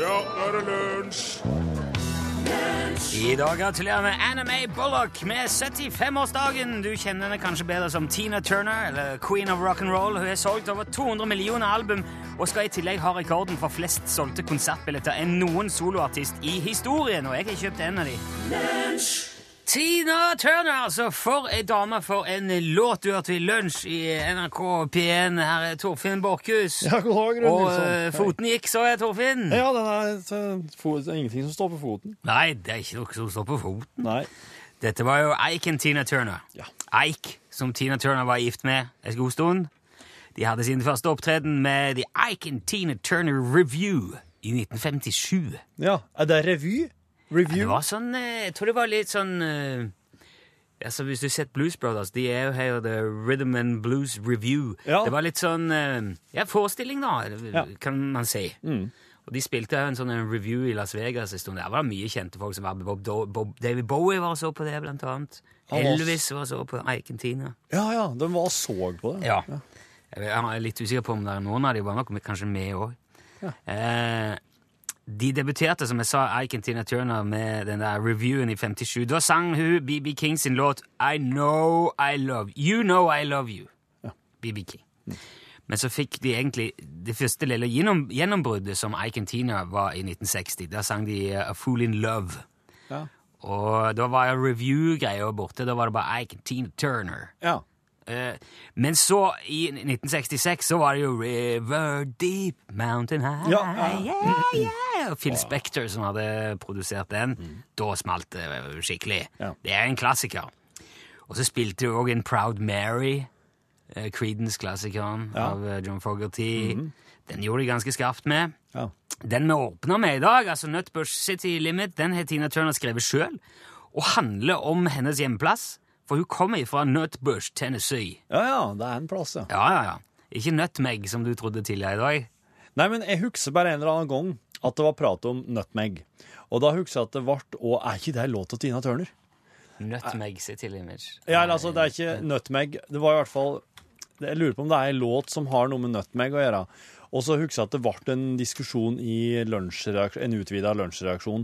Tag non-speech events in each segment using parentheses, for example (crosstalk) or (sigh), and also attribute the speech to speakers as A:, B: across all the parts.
A: Ja, nå er det lunsj!
B: I dag gratulerer vi Anime Bullock med 75-årsdagen. Du kjenner henne kanskje bedre som Tina Turner, eller Queen of Rock'n'Roll. Hun har solgt over 200 millioner album, og skal i tillegg ha rekorden for flest solgte konsertbilletter enn noen soloartist i historien, og jeg har kjøpt en av de. Tina Turner, altså. For ei dame, for en låt du hørte i lunsj i NRK P1. Her er Torfinn Borchhus.
C: Ja, god dag, Rune
B: og
C: Nilsson.
B: eh, foten gikk, så jeg, Torfinn.
C: Ja, den er, så- fo- det er ingenting som står på foten.
B: Nei, det er ikke noe som står på foten.
C: Nei.
B: Dette var jo Eiken Tina Turner.
C: Ja.
B: Eik, som Tina Turner var gift med en god stund. De hadde sin første opptreden med The Eiken Tina Turner Review i 1957.
C: Ja, Er det revy?
B: Det
C: Review?
B: var sånn eh, Jeg tror det var litt sånn eh, Altså Hvis du har sett Blues Brothers, de er jo her The Rhythm and Blues Review.
C: Ja.
B: Det var litt sånn eh, Ja, forestilling, da,
C: Ja.
B: kan man si. Og De spilte jo en sånn en review i Las Vegas en stund. Der var det mye kjente folk som var med. Bob, Do- Bob, David Bowie var og så på det, blant annet.
C: Han var-
B: Elvis var og så på Eikentina.
C: Ja, ja, den var så på det.
B: Ja. Jeg vet- Jeg er litt usikker på om det er noen av de var nok men kanskje med òg. Eh, de debuterte, som jeg sa, Eiken Tina Turner med den der reviewen i 57. Da sang hun BB King sin låt I Know I Love You Know I Love You. BB King. Men så fikk de egentlig det første lille gjennom, gjennombruddet som Eiken Tina var i 1960. Da sang de eh, A Fool in Love.
C: Ja.
B: Og da var jo review-greia borte. Da var det bare Eiken Tina Turner.
C: Ja.
B: Eh, Men så, i 1966, så var det jo River Deep Mountain High.
C: Ja, ja. (clears throat)
B: Yeah, yeah. Og Phil Spector som hadde produsert den. Da smalt det eh, skikkelig.
C: Mm. Ja.
B: Det er en klassiker. Og så spilte jo òg en Proud Mary, eh, Creedence-klassikeren av eh, John Fogerty. Den gjorde de ganske skarpt med.
C: Mhm. ja.
B: Den vi åpner med i dag, altså Nutbush City Limit, den har Tina Turner skrevet sjøl, og handler om hennes hjemplass, for hun kommer fra Nutbush, Tennessee.
C: Ja, ja, det er en plass, ja.
B: Ja, ja, ja. Ikke nutmeg, som du trodde tidligere i dag.
C: Nei, men jeg husker bare en eller annen gang at det var prat om nutmeg. Og da husker jeg at det ble Og er ikke det en låt av Tina Turner?
B: Nutmeg City Limits.
C: Ja, eller altså, det er ikke nutmeg. Det var i hvert fall Jeg lurer på om det er en låt som har noe med nutmeg å gjøre. Og så husker jeg at det ble en diskusjon i lunsjreaks- en utvida lunsjreaksjon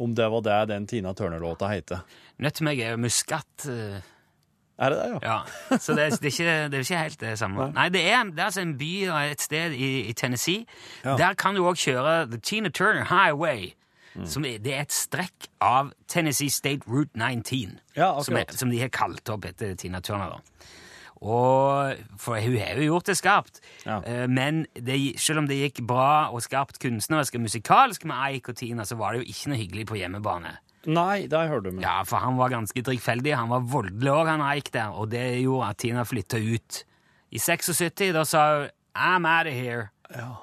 C: om det var det den Tina Turner-låta heter.
B: Nutmeg er jo muskat. eh,
C: Er det det, ja?
B: Ja, så det er, det, er ikke, det er ikke helt det samme. Nei, det er, det er altså en by og et sted i, i Tennessee.
C: Ja.
B: Der kan du òg kjøre The Tina Turner Highway.
C: Mm.
B: Som er, det er et strekk av Tennessee State Route 19,
C: Ja, akkurat.
B: som, er, som de har kalt opp etter Tina Turner. da. Og, for hun har jo gjort det skarpt.
C: Ja.
B: Eh, Men det, selv om det gikk bra og skarpt kunstnerisk og musikalsk med Eik og Tina, så var det jo ikke noe hyggelig på hjemmebane.
C: Nei, det har jeg hørt om.
B: Ja, for han var ganske drikkfeldig. Han var voldelig òg, han Eik der, og det gjorde at Tina flytta ut. I 76 da sa hun 'I'm out of here',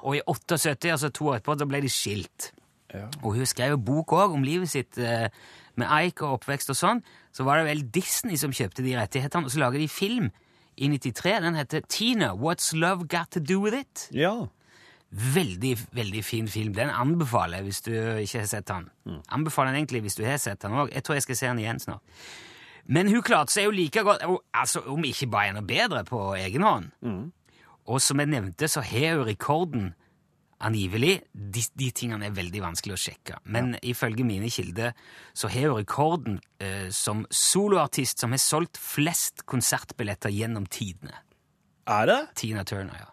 B: og i 78, altså to år etterpå, da ble de skilt.
C: Ja.
B: Og hun skrev jo bok òg om livet sitt eh, med Eik og oppvekst og sånn. Så var det vel Disney som kjøpte de rettighetene, og så lager de film i 93. Den heter Tina What's Love Got To Do With It?
C: Ja.
B: Veldig, veldig fin film. Den anbefaler jeg hvis du ikke har sett den.
C: Mm.
B: Anbefaler den egentlig hvis du har sett den òg. Jeg tror jeg skal se den igjen snart. Men hun klarte seg jo like godt, og- altså om ikke bare enda bedre, på egen hånd.
C: Mm.
B: Og som jeg nevnte, så har hun rekorden angivelig. De, de tingene er veldig vanskelig å sjekke. Men ifølge mine kilder så har hun rekorden eh, som soloartist som har solgt flest konsertbilletter gjennom tidene.
C: Er det?
B: Tina Turner, ja.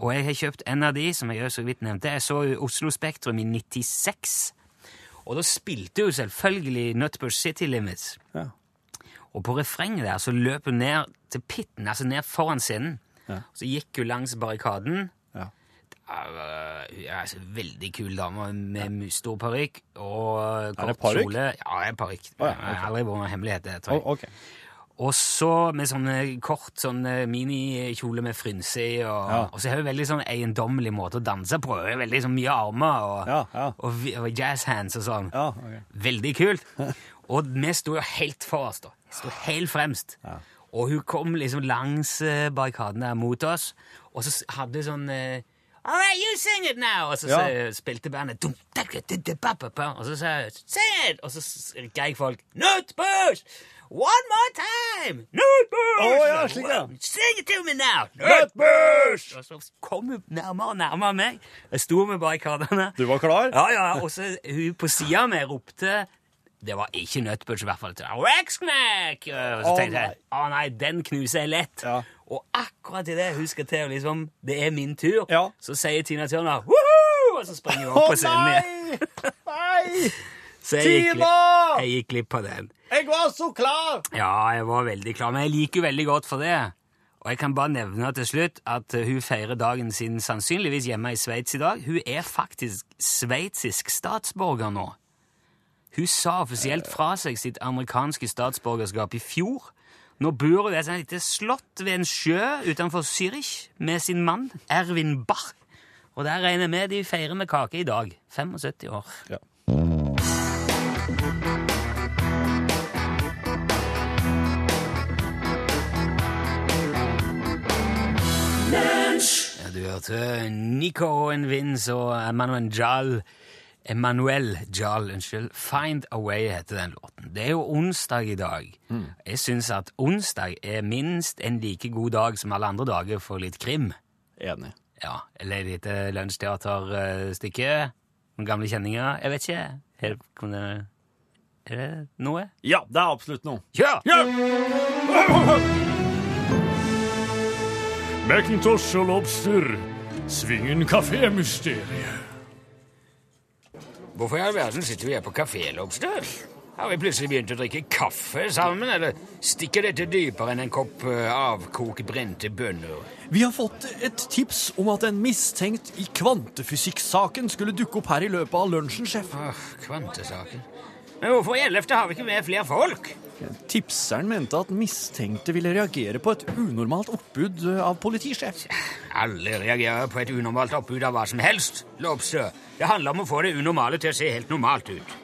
B: Og jeg har kjøpt en av de, som jeg jo så vidt nevnte. Jeg så jo Oslo Spektrum i 96. Og da spilte jo selvfølgelig Nutbush City Limits.
C: Ja.
B: Og på refrenget der så løp hun ned til pitten, altså ned foran scenen. Så gikk hun langs barrikaden.
C: Ja.
B: Er, øh, Hun er altså en veldig kul dame med mu- stor parykk
C: Er
B: og
C: det
B: kort
C: parykk?
B: kjole. Ja, det er parykk.
C: Å ja,
B: Jeg har aldri vært noen hemmelighet. det tror jeg.
C: O- ok.
B: Og så med sånn eh, kort sånn eh, minikjole med frynse i, og,
C: Ja.
B: og så har hun veldig sånn eiendommelig måte å danse på. Hun har veldig sånn mye armer og,
C: Ja, ja.
B: og, vi- og jazz hands og sånn.
C: Ja, ok.
B: Veldig kult.
C: (laughs)
B: Og vi sto jo helt forrest, da. Vi Sto helt fremst. Og hun kom liksom langs eh, barrikaden der mot oss, og så s- hadde hun sånn eh, All right, you sing it now! Og så,
C: Ja.
B: så spilte bandet dum, da, da, da, da, ba, ba, ba. Og så sa jeg Sing it! Og så s- ga jeg folk Nutbush! One more time! Nutbush!
C: Å, ja, slik, ja.
B: Sing it to me now!
C: Nutbush!
B: Og så kom hun nærmere og nærmere meg. Jeg sto med barrikadene.
C: Du var klar?
B: Ja, ja, og så hun på sida av meg ropte Det var ikke Nutbush, i hvert fall. Racksnack! Og så
C: Å,
B: tenkte jeg
C: nei.
B: å nei, den knuser jeg lett.
C: Ja.
B: Og akkurat idet hun skal til å liksom Det er min tur,
C: Ja.
B: så sier Tina Turner Woohoo! Og så springer hun
C: Å
B: opp på scenen igjen.
C: nei! Nei!
B: Så jeg gikk,
C: Tina!
B: glipp, jeg gikk glipp av den.
C: Jeg var så klar!
B: Ja, jeg var veldig klar, men jeg liker jo veldig godt for det. Og jeg kan bare nevne til slutt at eh, hun feirer dagen sin sannsynligvis hjemme i Sveits i dag. Hun er faktisk sveitsisk statsborger nå. Hun sa offisielt fra seg sitt amerikanske statsborgerskap i fjor. Nå bor hun i et sånt lite slott ved en sjø utenfor Zürich med sin mann Erwin Bach. Og der regner jeg med de feirer med kake i dag. 75 år. Ja, du hørte Nico and Vince og Emanuel Jal. Emanuel Jal, unnskyld. Find a Way heter den låten. Det er jo onsdag i dag. Jeg syns at onsdag er minst en like god dag som alle andre dager for litt krim.
C: Enig.
B: Ja, Eller et lite lunsjteaterstykke. Noen gamle kjenninger. Jeg vet ikke. Her, kan det, er det noe?
C: Ja, det er absolutt noe.
B: Kjør!
A: Macintosh og Lobster. Svingen kafé-mysteriet.
B: Hvorfor i all verden sitter vi her på kafé, Lobster? Har vi plutselig begynt å drikke kaffe sammen, eller stikker dette dypere enn en kopp eh, avkokt brente bønner?
C: Vi har fått et tips om at en mistenkt i kvantefysikksaken skulle dukke opp her i løpet av lunsjen, sjef.
B: Åh, Ah, kvantesaken. Men hvorfor i ellevte har vi ikke med flere folk?
C: Tipseren mente at mistenkte ville reagere på et unormalt oppbud eh, av politisjef.
B: Alle reagerer på et unormalt oppbud av hva som helst, Lobster. Det handler om å få det unormale til å se helt normalt ut.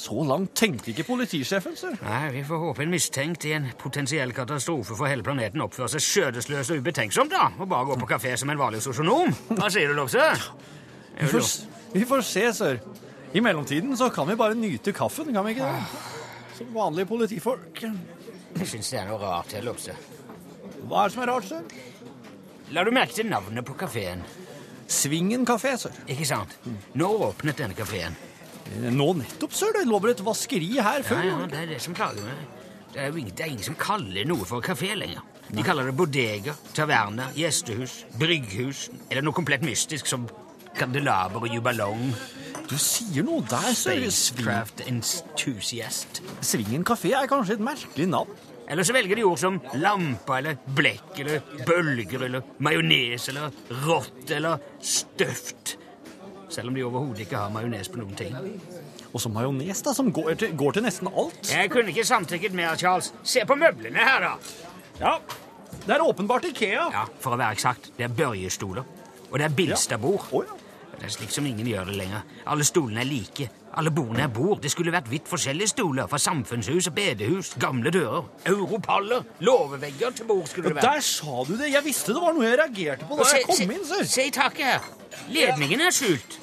C: Så langt tenkte ikke politisjefen, sir.
B: Nei, vi får håpe en mistenkt i en potensiell katastrofe for hele planeten oppfører seg skjødesløs og ubetenksomt, da, og bare går på kafé som en vanlig sosionom. Hva sier du, Lobster?
C: Vi får, s- vi får se, sir. I mellomtiden så kan vi bare nyte kaffen, kan vi ikke det? Som vanlige politifolk.
B: Ah. Jeg syns det er noe rart her, Lobster.
C: Hva er det som er rart, sir?
B: La du merke til navnet på kafeen?
C: Svingen kafé, sir. Eh,
B: Ikke sant? Når åpnet denne kafeen?
C: Nå nettopp, sir. Det lå vel et vaskeri her
B: Ja,
C: før.
B: ja, det er det som plager meg. Det er jo ingen, det er ingen som kaller noe for kafé lenger. De kaller det bodega, taverna, gjestehus, brygghus eller noe komplett mystisk som kandelaber og jubalong.
C: Du sier noe der, sir. Sving,
B: Spacecraft enthusiast.
C: svingen kafé er kanskje et merkelig navn.
B: Eller så velger de ord som lampa eller blekk eller bølger eller majones eller rått eller støft. Selv om de overhodet ikke har majones på noen ting.
C: Og så majones, da, som går til, går til nesten alt.
B: Jeg kunne ikke samtykket mer, Charles. Se på møblene her, da.
C: Ja, det er åpenbart Ikea.
B: Ja, For å være eksakt, det er børjestoler. Og det er Bilstadbord.
C: Å, ja.
B: Det er slik som ingen gjør det lenger. Alle stolene er like. Alle bordene er bord. Det skulle vært vidt forskjellige stoler. Fra samfunnshus og bedehus. Gamle dører. Europaller. Låvevegger til bord skulle det være.
C: Der sa du det! Jeg visste det var noe jeg reagerte på da jeg kom inn, sir.
B: se i taket her. Ledningen er skjult.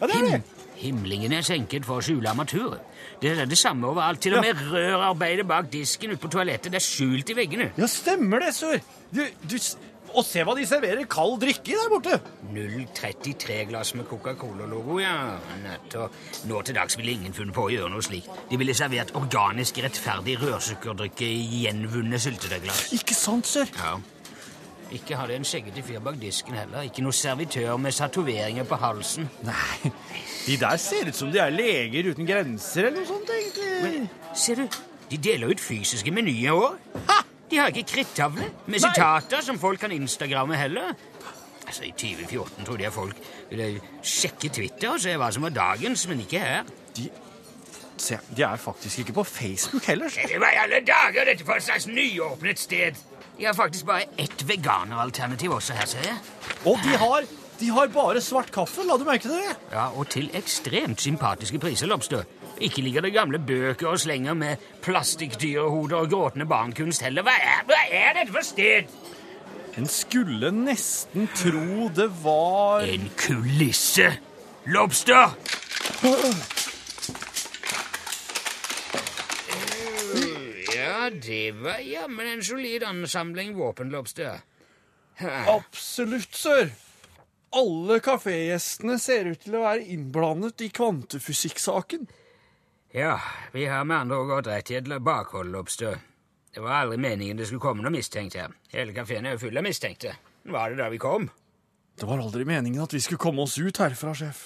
C: Ja, det er det.
B: Himlingen er senket for å skjule armaturen. Det er det samme overalt. Til og
C: Ja.
B: med rørarbeidet bak disken ute på toalettet det er skjult i veggene.
C: Ja, stemmer det, sir. Du, du, s- og se hva de serverer kald drikke i der borte.
B: 033-glass med Coca-Cola-logo, ja. Nettopp. Nå til dags ville ingen funnet på å gjøre noe slikt. De ville servert organisk rettferdig rørsukkerdrikke i gjenvunne syltetøyglass.
C: Ikke sant, sir?
B: Ja. Ikke hadde en skjeggete fyr bak disken heller. Ikke noe servitør med tatoveringer på halsen.
C: Nei, de der ser ut som de er leger uten grenser eller noe sånt, egentlig.
B: Ser du, de deler ut fysiske menyer òg. De har ikke krittavle med
C: Nei.
B: sitater som folk kan instagramme heller. Altså, I 2014 trodde jeg folk ville sjekke Twitter og se hva som var dagens, men ikke her.
C: De, se, de er faktisk ikke på Facebook heller. sir.
B: Hva i alle dager dette for et slags nyåpnet sted? De har faktisk bare ett veganeralternativ også her, ser jeg.
C: Og de har, de har bare svart kaffe, la du merke til det?
B: Ja, Og til ekstremt sympatiske priser, Lobster. Ikke ligger det gamle bøker og slenger med plastikkdyrehoder og gråtende barnkunst heller. Hva er, hva er dette for sted?
C: En skulle nesten tro det var
B: En kulisse. Lobster! Ja, det var jammen en solid ansamling våpenlobster.
C: Absolutt, sir. Alle kafégjestene ser ut til å være innblandet i kvantefysikksaken.
B: Ja, vi har med andre ord gått rett i et bakholdlobster. Det var aldri meningen det skulle komme noe mistenkt her. Hele kafeen er jo full av mistenkte. Var det da vi kom?
C: Det var aldri meningen at vi skulle komme oss ut herfra, sjef.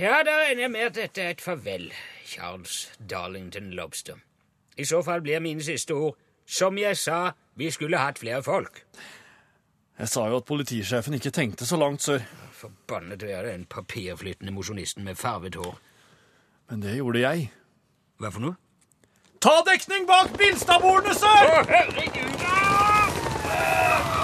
B: Ja, da regner jeg med at dette er et farvel, Charles Darlington Lobster. I så fall blir mine siste ord Som jeg sa, vi skulle hatt flere folk.
C: Jeg sa jo at politisjefen ikke tenkte så langt, sir.
B: Forbannet være den papirflyttende mosjonisten med farvet hår.
C: Men det gjorde jeg.
B: Hva for noe?
C: Ta dekning bak bilstabordene, sir!
B: Å, herregud! Ah!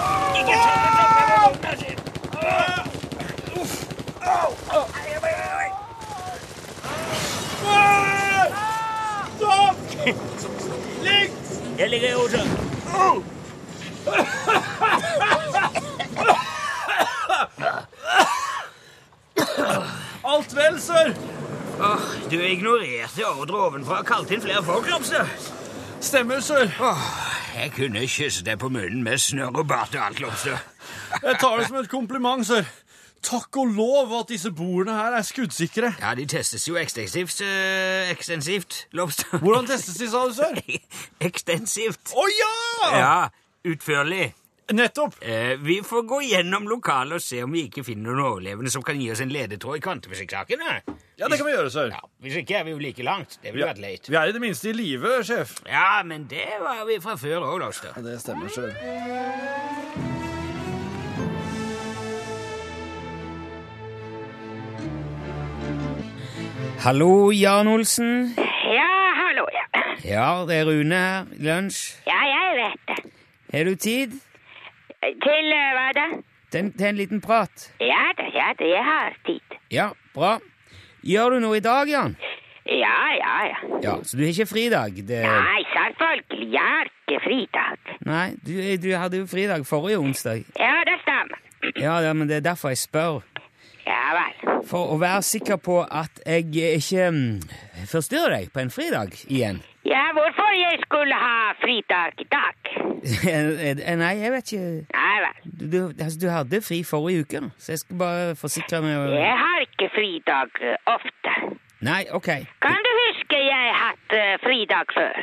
C: Stopp! Ligg!
B: Jeg ligger i hodet.
C: Alt vel, sir?
B: Åh, du ignorerte ordre ovenfra og kalte inn flere folk, Lobster.
C: Stemmer, sir.
B: Jeg kunne kysse deg på munnen med snørr og bart og alt, Lobster.
C: Jeg tar det som et kompliment, sir. Takk og lov at disse bordene her er skuddsikre.
B: Ja, de testes jo ekstensivt, øh, ekstensivt, Lobster.
C: Hvordan testes de, sa du, sir?
B: (laughs) Ekstensivt.
C: Å ja!
B: Ja, utførlig.
C: Nettopp.
B: Eh, vi får gå gjennom lokalet og se om vi ikke finner noen overlevende som kan gi oss en ledetråd i kvantefysikksaken. da.
C: Ja, det kan vi gjøre, sir.
B: Ja, hvis ikke er vi jo like langt. Det ville vært leit.
C: Vi er i det minste i live, sjef.
B: Ja, men det var vi fra før òg, Lobster.
C: Det stemmer, sir.
B: Hallo, Jan Olsen.
D: Ja, hallo, ja.
B: Ja, det er Rune her. Lunsj.
D: Ja, jeg vet det.
B: Har du tid?
D: Til eh, hva da?
B: Til en liten prat?
D: Ja da, ja da, jeg har tid.
B: Ja, bra. Gjør du noe i dag, Jan?
D: Ja, ja, ja.
B: Ja, Så du har ikke fridag? Det...
D: Nei, selvfølgelig, jeg har ikke fridag.
B: Nei, du, du hadde jo fridag forrige onsdag.
D: Ja, det stemmer.
B: Ja, ja, men det er derfor jeg spør.
D: Ja vel.
B: For å være sikker på at jeg ikke mm, forstyrrer deg på en fridag igjen. (laughs)
D: Ja, hvorfor jeg skulle ha fridag i dag?
B: Nei, jeg vet ikke.
D: Nei vel.
B: Du, du, altså, du hadde fri forrige uke, da, så jeg skal bare forsikre meg. og-
D: Jeg har ikke fridag eh, ofte.
B: Nei, ok.
D: Kan du huske jeg hatt eh, fridag før?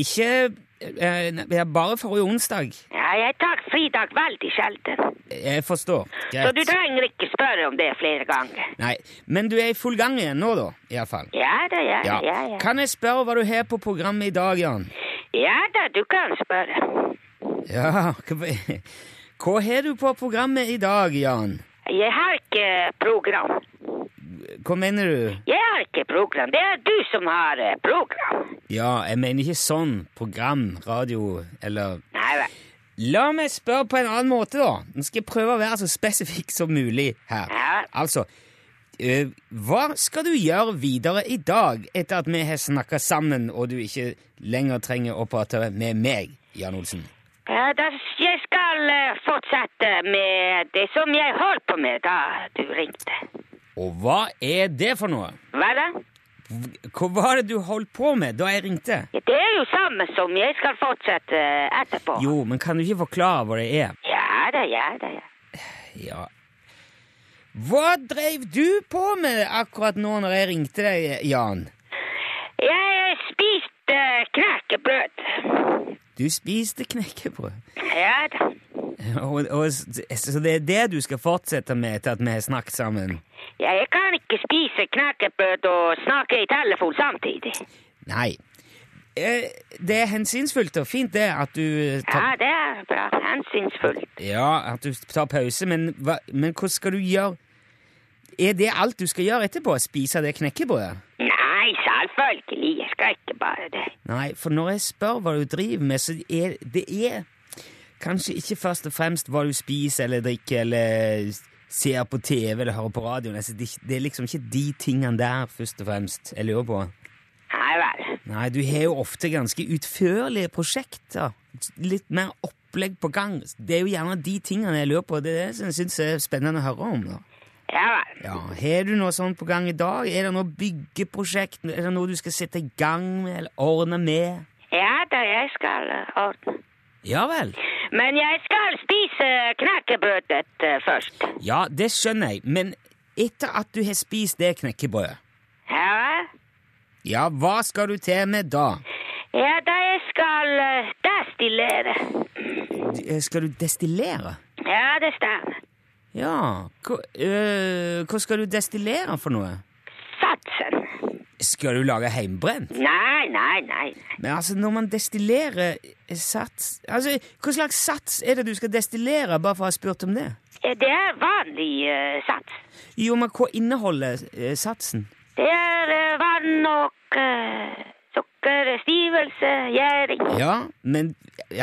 B: Ikke eh, nei, det er Bare forrige onsdag.
D: Ja, jeg tar fridag veldig sjelden.
B: Jeg forstår.
D: Så du trenger ikke spørre om det flere ganger.
B: Nei, Men du er i full gang igjen nå, da. Iallfall.
D: Ja da, ja, ja, ja. ja.
B: Kan jeg spørre hva du har på programmet i dag, Jan?
D: Ja da, du kan spørre.
B: Ja, (laughs) hva, hva har du på programmet i dag, Jan?
D: Jeg har ikke eh, program.
B: Hva mener du?
D: Jeg har ikke program. Det er du som har eh, program.
B: Ja, jeg mener ikke sånn program, radio eller
D: Nei vel.
B: La meg spørre på en annen måte, da. Nå skal jeg prøve å være så spesifikk som mulig her.
D: Ja.
B: Altså, eh, hva skal du gjøre videre i dag, etter at vi har snakka sammen, og du ikke lenger trenger å prate med meg, Jan Olsen?
D: Ja, da, jeg skal eh, fortsette med det som jeg holdt på med da du ringte.
B: Og hva er det for noe?
D: Hva da?
B: Hva var det du holdt på med da jeg ringte?
D: Ja, det er jo samme som jeg skal fortsette eh, etterpå.
B: Jo, men kan du ikke forklare hva det er?
D: Ja da, ja da, ja.
B: Ja. Hva dreiv du på med akkurat nå når jeg ringte deg, Jan?
D: Jeg spiste eh, knekkebrød.
B: Du spiste knekkebrød. (laughs)
D: Ja da.
B: Og, og, så det er det du skal fortsette med etter at vi har snakket sammen?
D: Ja, jeg kan ikke spise knekkebrød og snakke i telefon samtidig.
B: Nei. Eh, Det er hensynsfullt og fint, det, at du
D: Ja,
B: tar,
D: det er bra. Hensynsfullt.
B: ja, at du tar pause, men, hva, men hva skal du gjøre? Er det alt du skal gjøre etterpå? Spise det knekkebrødet?
D: Nei, selvfølgelig. Jeg skal ikke bare det.
B: Nei, for når jeg spør hva du driver med, så er det er kanskje ikke først og fremst hva du spiser eller drikker eller ser på TV eller hører på radioen. Altså, det, er ikke- det er liksom ikke de tingene der først og fremst jeg lurer på.
D: Nei vel.
B: Nei, du har jo ofte ganske utførlige prosjekter. Litt mer opplegg på gang. Det er jo gjerne de tingene jeg lurer på. Det er det som jeg syns er spennende å høre om. da.
D: Ja vel.
B: Ja, Har du noe sånt på gang i dag? Er det noe byggeprosjekt? Er det noe du skal sette i gang med eller ordne med?
D: Ja da, jeg skal eh, ordne.
B: Ja vel.
D: Men jeg skal spise knekkebrødet eh, først.
B: Ja, det skjønner jeg, men etter at du har spist det knekkebrødet,
D: Ja vel?
B: ja, hva skal du til med da?
D: Ja da, jeg skal eh, destillere.
B: D- eh, Skal du destillere?
D: Ja, det stemmer.
B: Ja, hva, øh, hva skal du destillere for noe?
D: Satsen.
B: Skal du lage heimbrent?
D: Nei, nei, nei.
B: Men altså, når man destillerer eh, sats Altså, hva slags sats er det du skal destillere, bare for å ha spurt om det?
D: Eh, Det er vanlig eh, sats.
B: Jo, men hva inneholder eh, satsen?
D: Det er eh, vann og eh, sukker, stivelse, gjæring.
B: Ja, men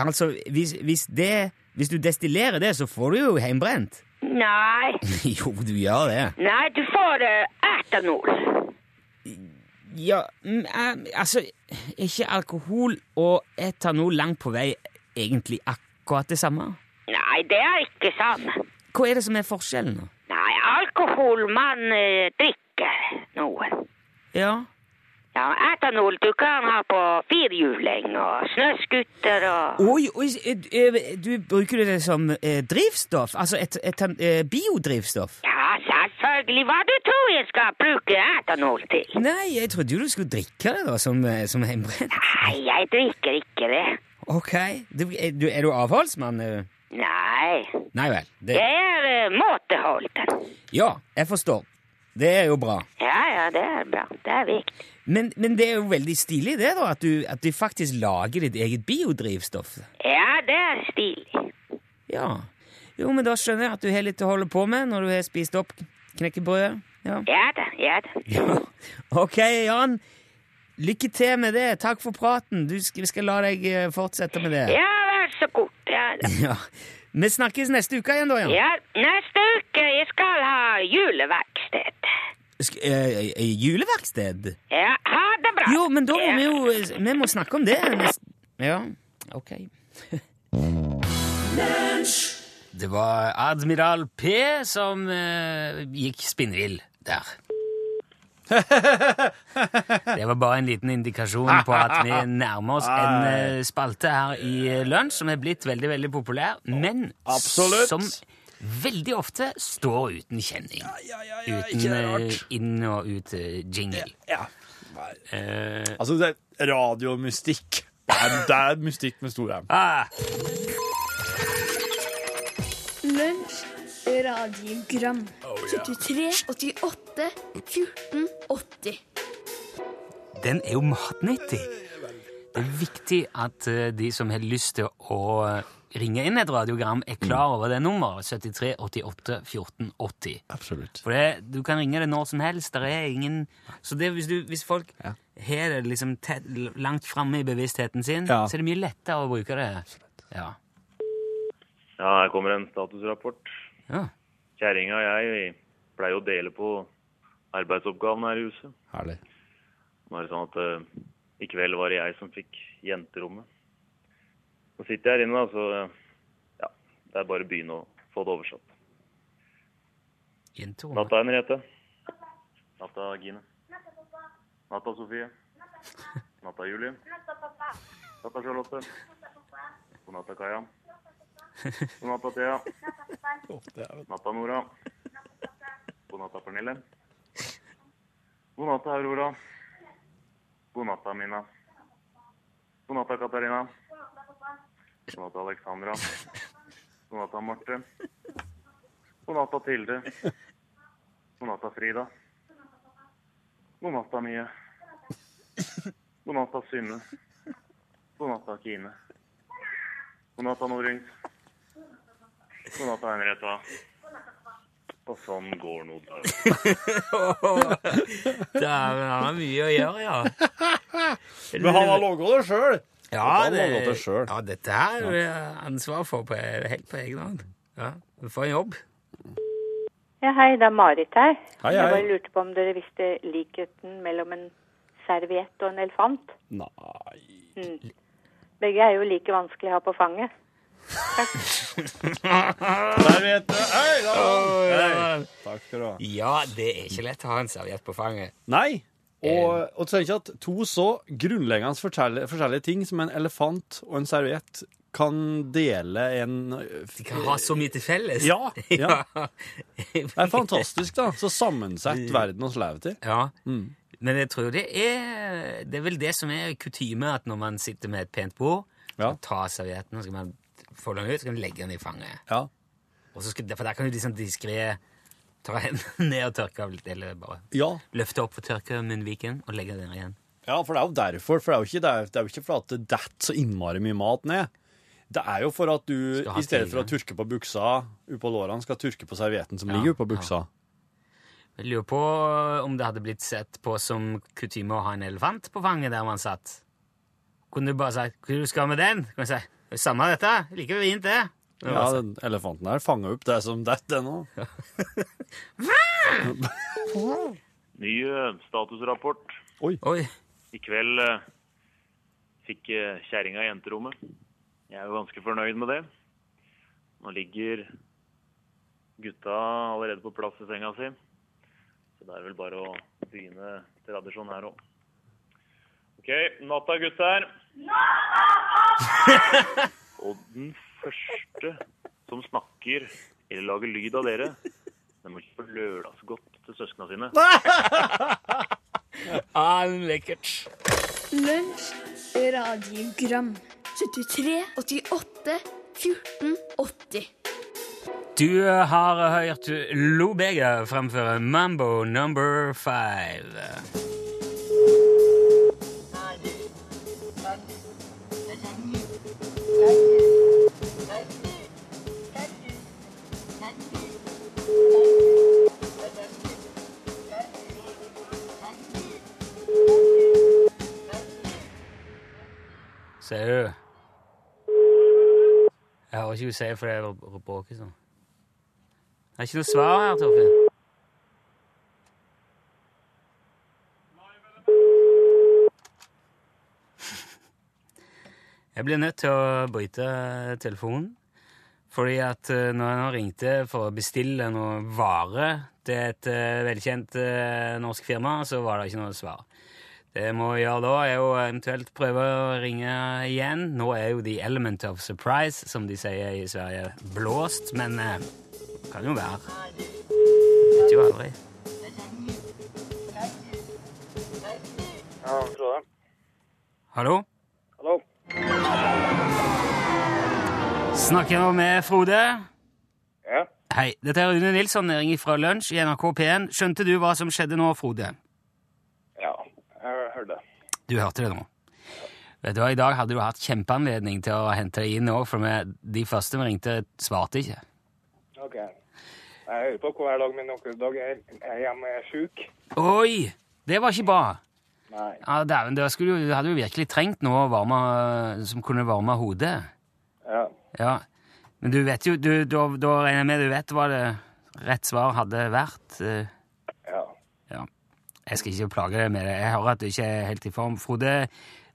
B: altså, hvis, hvis det Hvis du destillerer det, så får du jo heimbrent. (laughs)
D: Nei,
B: jo, du gjør det.
D: nei, du får eh, etanol.
B: Ja, mm, eh, altså Er ikke alkohol og etanol langt på vei egentlig akkurat det samme?
D: Nei, det er ikke samme.
B: Hva er det som er forskjellen, da?
D: Nei, alkohol man eh, drikker noe.
B: Ja,
D: Ja, etanol du kan ha på firhjuling og snøskutter og
B: Oi, oi, eh, eh, du bruker det som eh, drivstoff? Altså et, et, eh, biodrivstoff?
D: Ja, selvfølgelig. Hva du tror jeg skal bruke etanol til?
B: Nei, jeg trodde jo du skulle drikke det da, som, eh, som hjemmebrent.
D: Nei, jeg drikker ikke det.
B: Ok, du, er, du, er du avholdsmann? eh?
D: Nei,
B: Nei vel. Det,
D: jeg er eh, måteholden.
B: ja, jeg forstår. Det er jo bra.
D: Ja, ja, det er bra. Det er viktig.
B: Men, men det er jo veldig stilig det da, at du, at du faktisk lager ditt eget biodrivstoff.
D: Ja, det er stilig.
B: Ja. Jo, men da skjønner jeg at du har litt å holde på med når du har spist opp knekkebrødet. Ja.
D: Ja da, ja da.
B: Ja. Ok, Jan. Lykke til med det. Takk for praten. Du skal, vi skal la deg eh, fortsette med det.
D: Ja, vær så god. Ja, da.
B: Ja. Vi snakkes neste uke igjen, da, Jan.
D: ja, neste uke jeg skal ha juleverksted.
B: Sk eh, eh, juleverksted?
D: Ja, ha det bra.
B: Jo, men da må
D: Ja.
B: vi jo eh, Vi må snakke om
D: (laughs)
B: det nest- Ja, ok. (laughs) Det var Admiral P som eh, gikk spinnvill der. Det var bare en liten indikasjon på at vi nærmer oss en eh, spalte her i eh, Lunsj som er blitt veldig veldig populær, men
C: Absolutt.
B: som veldig ofte står uten kjenning.
C: Ja, ja, ja,
B: Uten eh, inn- og eh, ut-jingle.
C: Ja.
B: Eh,
C: Altså, det er radiomystikk. Det er, det er mystikk med stor M.
B: Ah,
E: Lunsj radiogram 73 88 14 80
B: den er jo matnyttig. Det er viktig at eh, de som har lyst til å eh, ringe inn et radiogram, er
C: Mm.
B: klar over det nummeret. 73 88 14 80.
C: Absolutt.
B: For det, du kan ringe det når som helst. Der er ingen Så det, hvis, du, hvis folk har det liksom tett, langt framme i bevisstheten sin,
C: Ja.
B: så er det mye lettere å bruke det. Ja.
F: Ja, her kommer en statusrapport.
B: ja.
F: Kjerringa og jeg vi pleier å dele på arbeidsoppgavene her i huset.
C: Herlig.
F: Nå er det sånn at eh, i kveld var det jeg som fikk jenterommet. Nå sitter jeg her inne, da, så eh, ja, det er bare å begynne å få det oversatt.
B: Jenter og-
F: Natta, Henriette. Natta, Gine. Natta, Sofie. Natta, Julie. Natta, Charlotte. God natta, Kaja. God natta, Thea. Natta, Nora. God natta, Pernille. God natta, Aurora. God natta, Mina. God natta, Katarina. God natta, Alexandra. God natta, Marte. God natta, Tilde. God natta, Frida. God natta, Mie. God natta, Synne. God natta, Kine. God natta, Norunn. God natta, Henrietta. Og sånn går nå dagen.
B: (laughs) Det er, han har mye å gjøre,
C: (laughs)
B: ja.
C: (laughs) Men han har laga det sjøl!
B: Ja,
C: Han har laget det selv.
B: ja, dette her har jeg ansvar for på, helt på egen hånd. Ja, du får en jobb.
G: Ja, hei, det er Marit her.
C: Hei,
G: Jeg
C: hei.
G: bare lurte på om dere visste likheten mellom en serviett og en elefant. Hmm.
C: Nei
G: Begge er jo like vanskelig å ha på fanget.
C: Der vet du. Hei, da. Hei. Takk skal du ha.
B: Ja, det er ikke lett å ha en serviett på fanget.
C: Nei. Og, og tenk at to så grunnleggende forskjellige, forskjellige ting som en elefant og en serviett kan dele en
B: De kan ha så mye til felles. (laughs)
C: Ja, ja. Det er
B: ja.
C: fantastisk, da. Så sammensett verden oss lever i.
B: Ja. Men jeg tror det er Det er vel det som er kutyme, at når man sitter med et pent bord,
C: Ja.
B: så ta servietten, og så skal man få den ut, så kan man legge den i fanget.
C: Ja.
B: Og så skal, for der kan du liksom diskré ta hendene (laughs) ned og tørke av litt, eller bare
C: Ja.
B: løfte opp og tørke munnviken og legge den igjen.
C: ja, for det er jo derfor. For det er jo ikke, det er, det er jo ikke for at det detter så innmari mye mat ned. Det er jo for at du
B: Skal ha
C: i stedet for å
B: tilgang.
C: tørke på buksa oppå lårene, skal tørke på servietten som
B: Ja,
C: ligger oppå buksa.
B: Jeg lurer på eh, om det hadde blitt sett på som kutyme å ha en elefant på fanget der man satt. Kunne du bare sagt 'Hva skal du med den?' Kunne jeg si, «Det er Samme dette, like fint det.
C: Ja, den elefanten her fanger opp det som detter nå.
F: Ny eh, statusrapport.
B: Oi,
F: I kveld eh, fikk eh, kjerringa i jenterommet. Jeg er jo ganske fornøyd med det. Nå ligger gutta allerede på plass i senga si. Så det er vel bare å begynne tradisjonen her òg. OK, natta, gutter. Og den første som snakker eller lager lyd av dere, den må ikke få lørdagsgodt til søskna sine.
B: ah, lekkert.
E: Lunsj, radiogram 73, 88, 14, 80
B: Du eh, har hørt Lou Bega fremføre Mambo number five. Ser du? Jeg hører ikke hva hun sier, for det er bråket sånn. Det er ikke noe svar her, Torfinn. (laughs) Jeg blir nødt til å bryte telefonen. Fordi at eh, når jeg nå ringte for å bestille noe vare til et eh, velkjent eh, norsk firma, så var det ikke noe svar. Det jeg må gjøre da, er jo eventuelt prøve å ringe igjen. Nå er jo the element of surprise, som de sier i Sverige, blåst, men eh, kan jo være. Vet jo aldri.
H: Ja, Frode.
B: Hallo?
H: Hallo.
B: Snakker jeg nå med Frode?
H: Ja.
B: Hei, dette er Rune Nilsson, jeg ringer fra lunsj i NRK P1. Skjønte du hva som skjedde nå, Frode?
H: Ja, jeg hørte det.
B: Du hørte det nå. Vet du hva, I dag hadde du hatt kjempeanledning til å hente deg inn òg, for vi- de første vi ringte, svarte ikke.
H: Ok. Jeg hører på hver dag, men noen dager er jeg hjemme er syk.
B: Oi! Det var ikke bra.
H: Nei.
B: Ja, Dæven, da skulle jo- du hadde jo virkelig trengt noe varme, eh, som kunne varme hodet.
H: Ja.
B: Ja, Men du vet jo du, Da da regner jeg med du vet hva det rett svar hadde vært. eh.
H: Ja.
B: Ja. Jeg skal ikke plage deg med det. Jeg hører at du ikke er helt i form. Frode,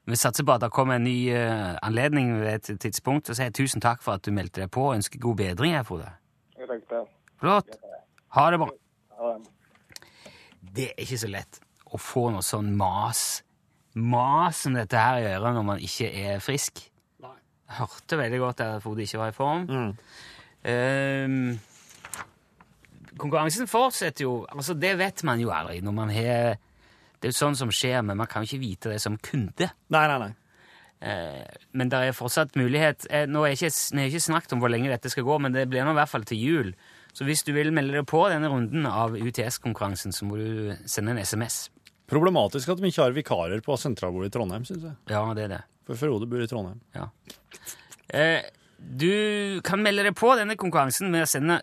B: vi satser på at det kommer en ny eh, anledning ved et tidspunkt. Og sier jeg tusen takk for at du meldte deg på, og ønsker god bedring her, Frode.
H: Jeg tenkte
B: Flott. Ha det bra.
H: ja, det.
B: Det er ikke så lett å få noe sånn mas, mas som dette her i øret når man ikke er frisk. Jeg hørte veldig godt at Frode ikke var i form.
C: Mm.
B: Ehm, konkurransen fortsetter jo. Altså, det vet man jo aldri når man har Det er jo sånn som skjer, men man kan jo ikke vite det som kunde.
C: Nei, nei, nei.
B: Eh, Men det er fortsatt mulighet. Eh, Nå er ikke, vi har ikke snakket om hvor lenge dette skal gå, men det blir nå i hvert fall til jul. Så hvis du vil melde deg på denne runden av UTS-konkurransen, så må du sende en SMS.
C: Problematisk at de ikke har vikarer på sentralbordet i Trondheim, syns jeg.
B: Ja, det er det.
C: For Frode bor i Trondheim.
B: Ja. Eh, du kan melde deg på denne konkurransen med å sende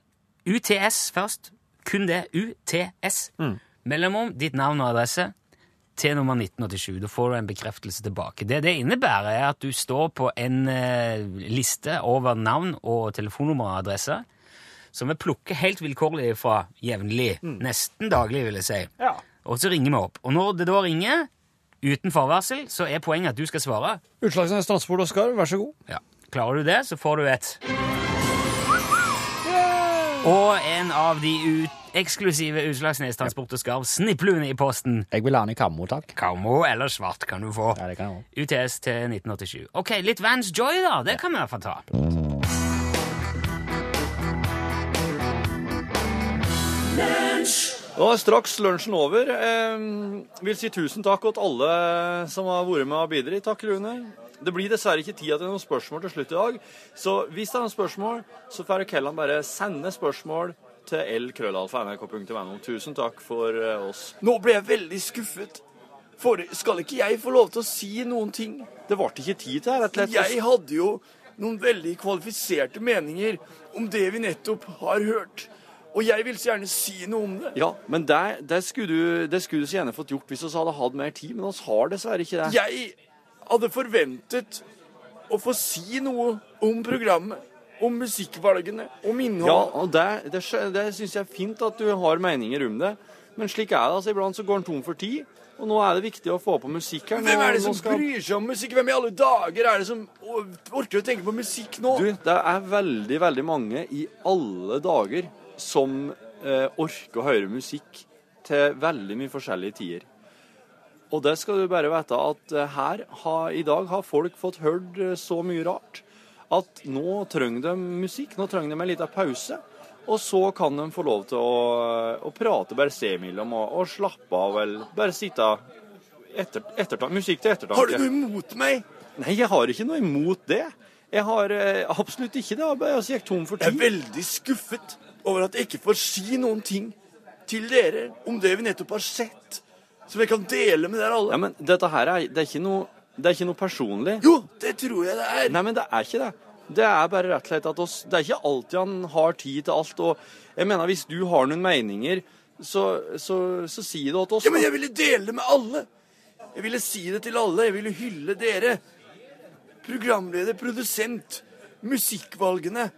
B: UTS først. Kun det. UTS. Mellomom ditt navn og adresse til nummer 1987. Da får du en bekreftelse tilbake. Det det innebærer, er at du står på en eh, liste over navn og telefonnummer og adresse. Som vi plukker helt vilkårlig fra jevnlig. Nesten daglig, vil jeg si.
C: Ja.
B: Og så ringer vi opp. Og når det da ringer, uten forvarsel, så er poenget at du skal svare.
C: Utslagsnes Transport og Skarv, vær så god.
B: Ja. Klarer du det, så får du et. Og en av de ut eksklusive Utslagsnes Transport og Skarv snipplune i posten.
I: Jeg vil ha den i kammo, takk.
B: Kammo eller svart kan du få.
I: Ja, det kan jeg også.
B: UTS til 1987. Ok, litt Vans Joy, da. Det kan vi i hvert fall ta.
C: Da er straks lunsjen over. Eh, vil si tusen takk til alle som har vært med og bidratt. Takk, Rune. Det blir dessverre ikke tid til noen spørsmål til slutt i dag, så hvis det er noen spørsmål, så får Kellan bare sende spørsmål til lkrøllalfa.nrk.no. Tusen takk for eh, oss. Nå ble jeg veldig skuffet. For skal ikke jeg få lov til å si noen ting? Det ble ikke tid til det, rett og slett. Jeg hadde jo noen veldig kvalifiserte meninger om det vi nettopp har hørt. Og jeg vil så gjerne si noe om det. Ja, men det, det, skulle, du, det skulle du så gjerne fått gjort hvis vi hadde hatt mer tid, men vi har dessverre ikke det. Jeg hadde forventet å få si noe om programmet, om musikkvalgene, om innholdet. Ja, og det, det, skjø- det syns jeg er fint at du har meninger om det, men slik er det. altså Iblant så går en tom for tid, og nå er det viktig å få på musikk her. Hvem er det som bryr seg om musikk? Hvem i alle dager er det som orker å tenke på musikk nå? Du, det er veldig, veldig mange i alle dager som eh, orker å høre musikk til veldig mye forskjellige tider. Og det skal du bare vite at eh, her har, i dag har folk fått hørt eh, så mye rart at nå trenger de musikk, nå trenger de en liten pause. Og så kan de få lov til å, å prate bare se imellom og, og slappe av eller bare sitte etter, ettertanke. Musikk til ettertanke. Har du noe imot meg? Nei, jeg har ikke noe imot det. Jeg har eh, absolutt ikke det. Jeg bare- altså, jeg gikk tom for tid. Jeg er veldig skuffet over at jeg ikke får si noen ting til dere om det vi nettopp har sett som jeg kan dele med dere alle. Ja, men dette her er, det er, ikke, noe, det er ikke noe personlig. Jo, det tror jeg det er. Nei, men det er ikke det. Det er bare rett og slett at oss, det er ikke alltid han har tid til alt. Og jeg mener, hvis du har noen meninger, så, så, så si det til oss. Ja, men jeg ville dele det med alle. Jeg ville si det til alle. Jeg ville hylle dere. Programleder, produsent, musikkvalgene.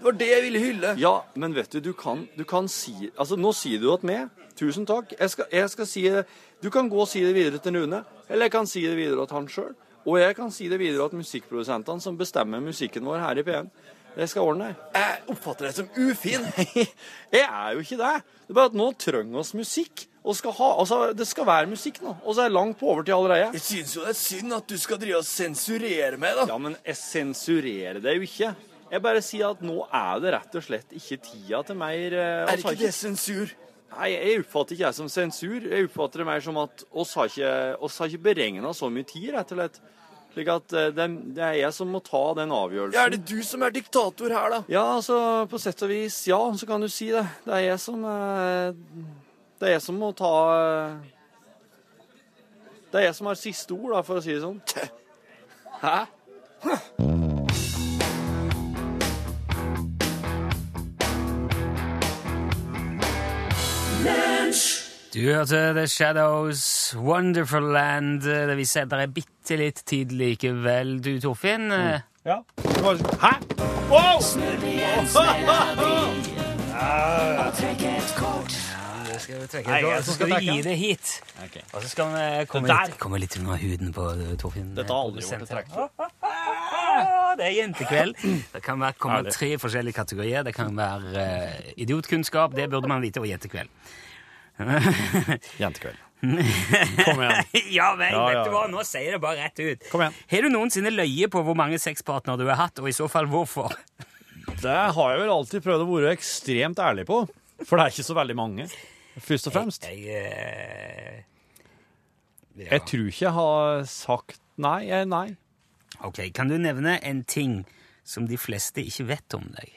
C: Det var det jeg ville hylle. Ja, men vet du, du kan, du kan si Altså, nå sier du at med. Tusen takk. Jeg skal, jeg skal si det Du kan gå og si det videre til Rune. Eller jeg kan si det videre til han sjøl. Og jeg kan si det videre til musikkprodusentene som bestemmer musikken vår her i P1. Jeg skal ordne det. Jeg oppfatter deg som (laughs) ufin. jeg er jo ikke det. Det er bare at nå trenger oss musikk. Og skal ha, altså, det skal være musikk nå. Og så er det langt på overtid allerede. Jeg syns jo det er synd at du skal drive og sensurere meg, da. Ja, men jeg sensurerer det jo ikke. Jeg bare sier at nå er det rett og slett ikke tida til mer Er ikke det sensur? Nei, jeg oppfatter ikke jeg som sensur. Jeg oppfatter det mer som at oss har ikke, oss har ikke beregna så mye tid, rett og slett. Slik at eh, det, det er jeg som må ta den avgjørelsen. Ja, Er det du som er diktator her, da? Ja, altså, på sett og vis, ja, så kan du si det. Det er jeg som eh, Det er jeg som må ta eh, Det er jeg som har siste ord, da, for å si det sånn. Hæ?
B: Du hørte The Shadows, Wonderful Land. Det vi setter deg bitte litt tid likevel, du Torfinn. eh,
C: Ja. Hæ? Wow!
B: Det skal vi trekke
C: Nei, jeg
B: Så skal vi gi det hit.
I: Ok.
B: Og så skal vi
C: Det
B: komme
C: der-
B: litt, komme litt under huden på eh, Torfinn.
C: Dette har aldri vært et
B: produsenten.
C: trekk.
B: Ah, Det er
C: (laughs)
B: jentekveld. Det kan være, komme
C: Ja, det-
B: tre forskjellige kategorier. Det kan være eh, idiotkunnskap, det burde man vite, og jentekveld. (laughs)
I: Jentekveld.
C: Kom igjen.
B: ja
C: Ja,
B: vel,
C: ja,
B: vet du hva,
C: ja.
B: nå sier jeg det bare rett ut.
C: Kom igjen.
B: Har du noensinne løyet på hvor mange sexpartnere du har hatt, og i så fall hvorfor?
C: Det har jeg vel alltid prøvd å være ekstremt ærlig på. For det er ikke så veldig mange, først og fremst.
B: Jeg, eh, ja.
C: Jeg tror ikke jeg har sagt nei. Jeg, nei.
B: Ok, Kan du nevne en ting som de fleste ikke vet om deg?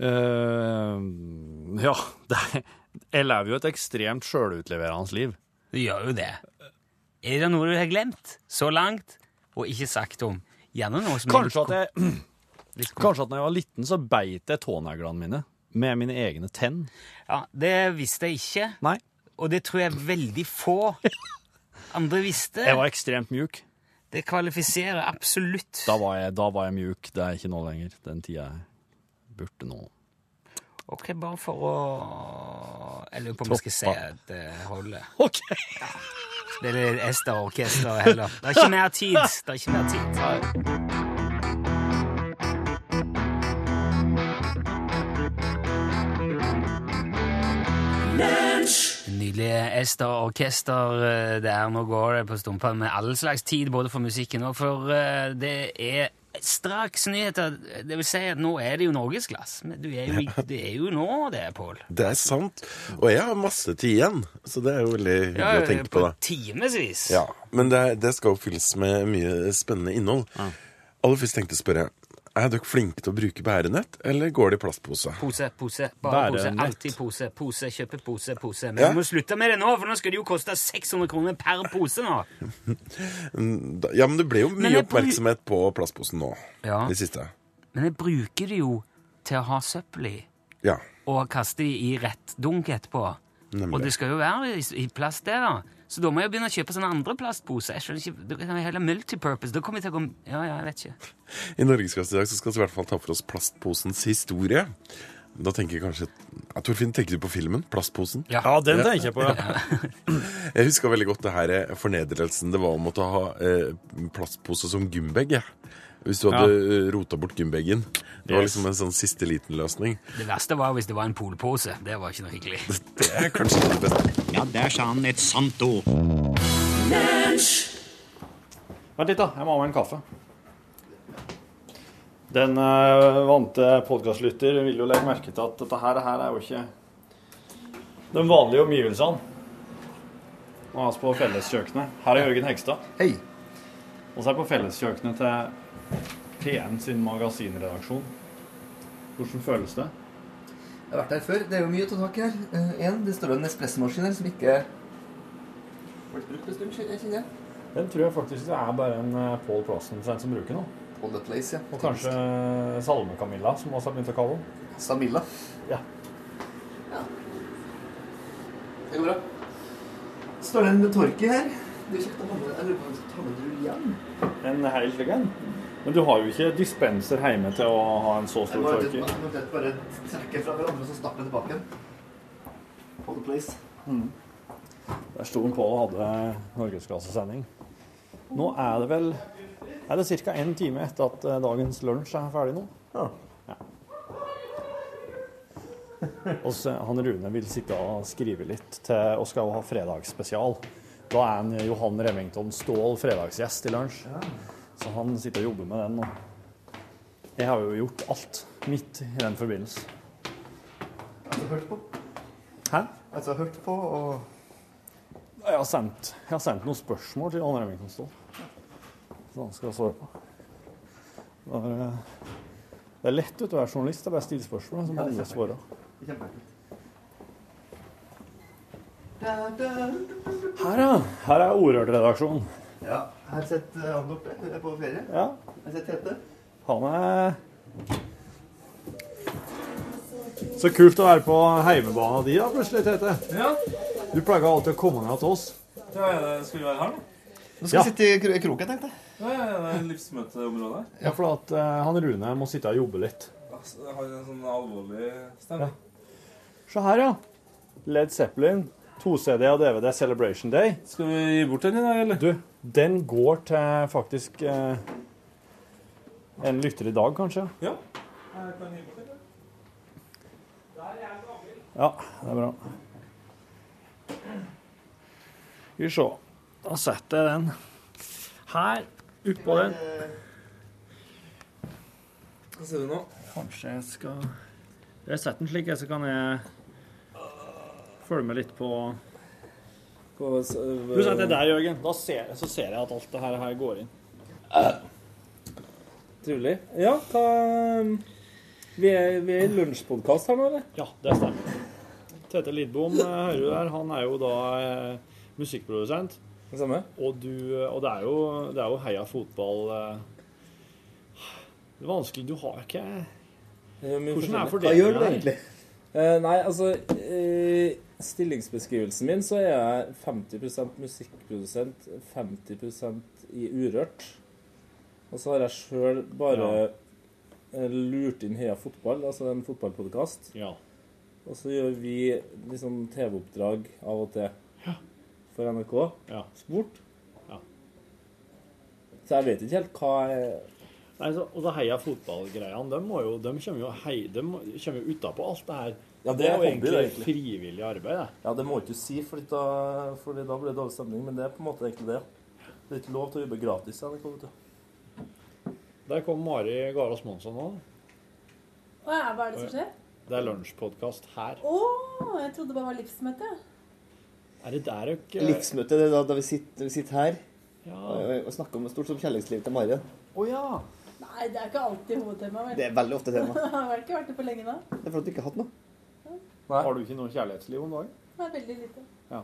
C: Eh, ja, (laughs) det er, jeg lever jo et ekstremt sjølutleverende liv.
B: Du gjør jo det. Er det noe du har glemt så langt og ikke sagt om? Gjerne noe som er
C: Kanskje at
B: litt
C: jeg,
B: kom- (clears throat) litt kom-
C: kanskje at når jeg var liten, så beit jeg tåneglene mine med mine egne tenn.
B: Ja, Det visste jeg ikke,
C: Nei,
B: og det tror jeg veldig få
C: (laughs)
B: andre visste.
C: jeg var ekstremt mjuk.
B: Det kvalifiserer absolutt.
C: Da var jeg, da var jeg mjuk. Det er ikke nå lenger. Den tida jeg burde nå.
B: Ok, bare for å Jeg lurer på om jeg skal si
C: Toppa.
B: at det holder.
C: OK!
B: Det er Ester-orkester heller. Det er ikke mer tid. Det er ikke mer tid. Nydelige Ester Orkester. eh, Det er Nå går det på stumpa med all slags tid, både for musikken og for eh, Det er straks nyheter. Det vil si at nå er det jo norgesglass. Men Du er jo, i- det er jo nå det, Pål.
I: Det er sant. Og jeg har masse tid igjen, så det er jo veldig hyggelig å tenke på. da.
B: timevis.
I: Ja, Men det, er- det skal oppfylles med mye spennende innhold. Aller først tenkte jeg å spørre Er dere flinke til å bruke bærenett, eller går det i plastpose?
B: Pose, pose, bare pose.
C: Bærenett.
B: Alltid pose, pose, kjøpe pose, pose. Men
I: Ja.
B: vi må slutte med det nå, for nå skal det jo koste 600 kroner per pose nå.
I: Mm, da- Ja, men det ble jo mye
B: Men jeg bru-
I: oppmerksomhet på plastposen nå.
B: Ja.
I: I siste.
B: Men jeg bruker det jo til å ha søppel i.
I: Ja.
B: og kaste de i rett dunk etterpå.
I: Nemlig.
B: Og det skal jo være i, i plast der, da. Så da må jeg begynne å kjøpe sånne andre plastposer. Jeg skjønner ikke, Da kan jeg heller multipurpose. Da kommer jeg til å gå Ja, ja, jeg vet ikke.
I: I Norgesklasse i dag så skal vi i hvert fall ta for oss plastposens historie. Da tenker jeg kanskje ja, Torfinn, tenker du på filmen? Plastposen?
C: Ja, den tenker jeg på, ja.
I: (laughs) Jeg husker veldig godt det her eh, fornedrelsen det var å måtte ha eh, plastpose som gymbag. jeg. Hvis du hadde eh, rota bort gymbagen. Det var
C: Yes.
I: liksom en sånn siste liten løsning.
B: Det verste var hvis det var en polpose. Det var ikke noe hyggelig.
I: Det er kanskje ikke det beste.
J: Ja, der sa han et sant ord.
C: Vent litt, da. Jeg må ha meg en kaffe. Den eh, vante podkastlytter vil jo legge merke til at dette her, her er jo ikke de vanlige omgivelsene. Nå er vi på felleskjøkkenet. Her er Jørgen Hegstad. Hei. Og så er vi på felleskjøkkenet til P1 sin magasinredaksjon. Hvordan føles det?
J: Jeg har vært her før. Det er jo mye å ta tak i her. Eh, En, det står jo en espressomaskin her som ikke ble brukt en stund, kjenner jeg- kjenner jeg.
C: Den tror jeg faktisk det er bare en eh, Pål Plassen sin som bruker nå.
J: Paul Dutlace, ja.
C: Og kanskje eh, Salme-Camilla, som også har begynt å kalle den.
J: Samilla.
C: Ja.
J: Ja. Det går bra. Så står det en torker her. Det er kjekt å ha med. Jeg lurer på om jeg skal ta med en rull igjen.
C: En hel slik en. Men du har jo ikke dispenser hjemme til å ha en så
J: Jeg
C: stor
J: må rett
C: tørker.
J: og slett bare trekke fra hverandre og så starte tilbake igjen. Paul Dutlace.
C: Der sto han på og hadde norgesklassesending. Nå er det vel er det ca. en time etter at eh, dagens lunsj er ferdig nå. Ja. Og så han Rune vil sitte og skrive litt til og skal jo ha fredagsspesial. Da er han Johan Remington Ståhl fredagsgjest i lunsj. Så han sitter og jobber med den nå. Jeg har jo gjort alt mitt i den forbindelse.
J: Altså, hørt på.
C: Hæ?
J: Altså, hørt på og...
C: Jeg har sendt, jeg har sendt noen spørsmål til Johan Remington Ståhl. Så han skal svare på. Det er, eh, det er lett vet du, å være journalist. Det er bare å stille spørsmål, så må andre svare. Her, ja. Her er Ordrørt-redaksjonen.
J: Ja, jeg har sett eh, han oppe jeg er på ferie.
C: Ja.
J: Jeg har sett Tete.
C: Han er Så kult å være på heimebana di, da, plutselig, Tete. Ja. Du pleier alltid å komme ned til oss.
J: Nå skal
C: Ja.
J: vi sitte i kro- kroken, tenkte jeg.
C: Ja, for at eh, han Rune må sitte og jobbe litt.
J: sånn
C: Altså, har en sånn alvorlig stemning. Ja. Se her, ja. Led Zeppelin. 2CD og DVD Celebration Day.
F: Skal vi gi bort den i dag, eller?
C: Du, den går til faktisk eh, en lytter i dag, kanskje. Ja. Ja, det er bra. Skal vi se. Da setter jeg den her oppå den.
J: Hva ser du nå?
C: Kanskje jeg skal Jeg setter den slik, så kan jeg følge med litt på
J: øh,
C: Du setter det der, Jørgen. Da ser, så ser jeg at alt det her, her går inn.
J: Trivelig. Ja, hva Vi er, i lunsjpodkast her nå, eller?
C: Ja, det stemmer. Tete Lidbom eh, hører du der. Han er jo da eh, musikkprodusent.
J: Det samme?
C: Og, du, eh, og det, er jo, det er jo heia fotball eh. Det er vanskelig. Du har ikke Hvordan er
J: Hva gjør du
C: fordelingen her?
J: egentlig?
K: Eh, nei, altså I stillingsbeskrivelsen min så er jeg 50 musikkprodusent, 50 i Urørt. Og så har jeg sjøl bare eh, lurt inn Heia Fotball, altså en fotballpodkast.
C: Ja.
K: Og så gjør vi liksom TV-oppdrag av og til for NRK.
C: Ja.
K: Sport.
C: Ja.
K: Så jeg vet ikke helt hva jeg
C: Nei, så, og det heia fotballgreiene, de, må jo, de kommer jo, hei, de må- kommer jo utapå alt det her
K: Ja, det er
C: jo
K: hobby, det,
C: egentlig
K: egentlig.
C: frivillig arbeid. da.
K: Ja, det må ikke du si, for da, fordi da blir det dårlig stemning. Men det er på en måte egentlig det. Det er ikke lov til å jobbe gratis i NRK, vet du.
C: Der kom Mari Garås Monsson nå.
L: Hva er, hva er det som skjer?
C: Det er lunsjpodkast her.
L: Å, jeg trodde det bare var livsmøte.
C: Er det der dere
J: Livsmøte, det er da, da vi sitter, vi sitter her
C: Ja.
J: og, og snakker om stort som kjærlighetslivet til Mari.
C: Å ja.
L: Nei, det er ikke alltid hovedtema. vel?
J: Det er veldig ofte tema.
L: (laughs) Jeg har ikke vært det på lenge nå.
J: Det er for at du ikke har hatt noe.
C: Har du ikke noe kjærlighetsliv om dagen?
L: Det er veldig lite.
C: Ja.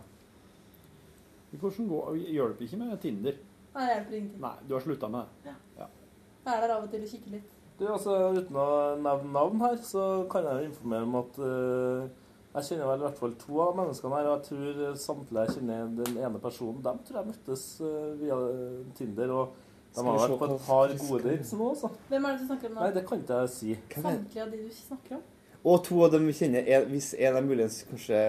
C: Hvordan går, hjelper ikke med Tinder?
L: Nei, det hjelper ingenting.
C: Nei, du har slutta med det.
L: Jeg er der av og til og kikker litt.
K: Du, altså, Uten å nevne navn her, så kan jeg jo informere om at eh, jeg kjenner vel i hvert fall to av menneskene her. Og jeg tror eh, samtlige jeg kjenner den ene personen. Dem tror jeg møttes eh, via eh, Tinder. Og de
J: Skal vi
K: har
J: se
K: vært på
J: på
K: et par
J: frisk-
K: gode dates nå, altså.
L: Hvem er det du snakker om nå?
K: Nei, det kan ikke jeg si.
L: Samtlige av de du snakker om?
J: Og to av dem vi kjenner, er, hvis en av dem muligens kanskje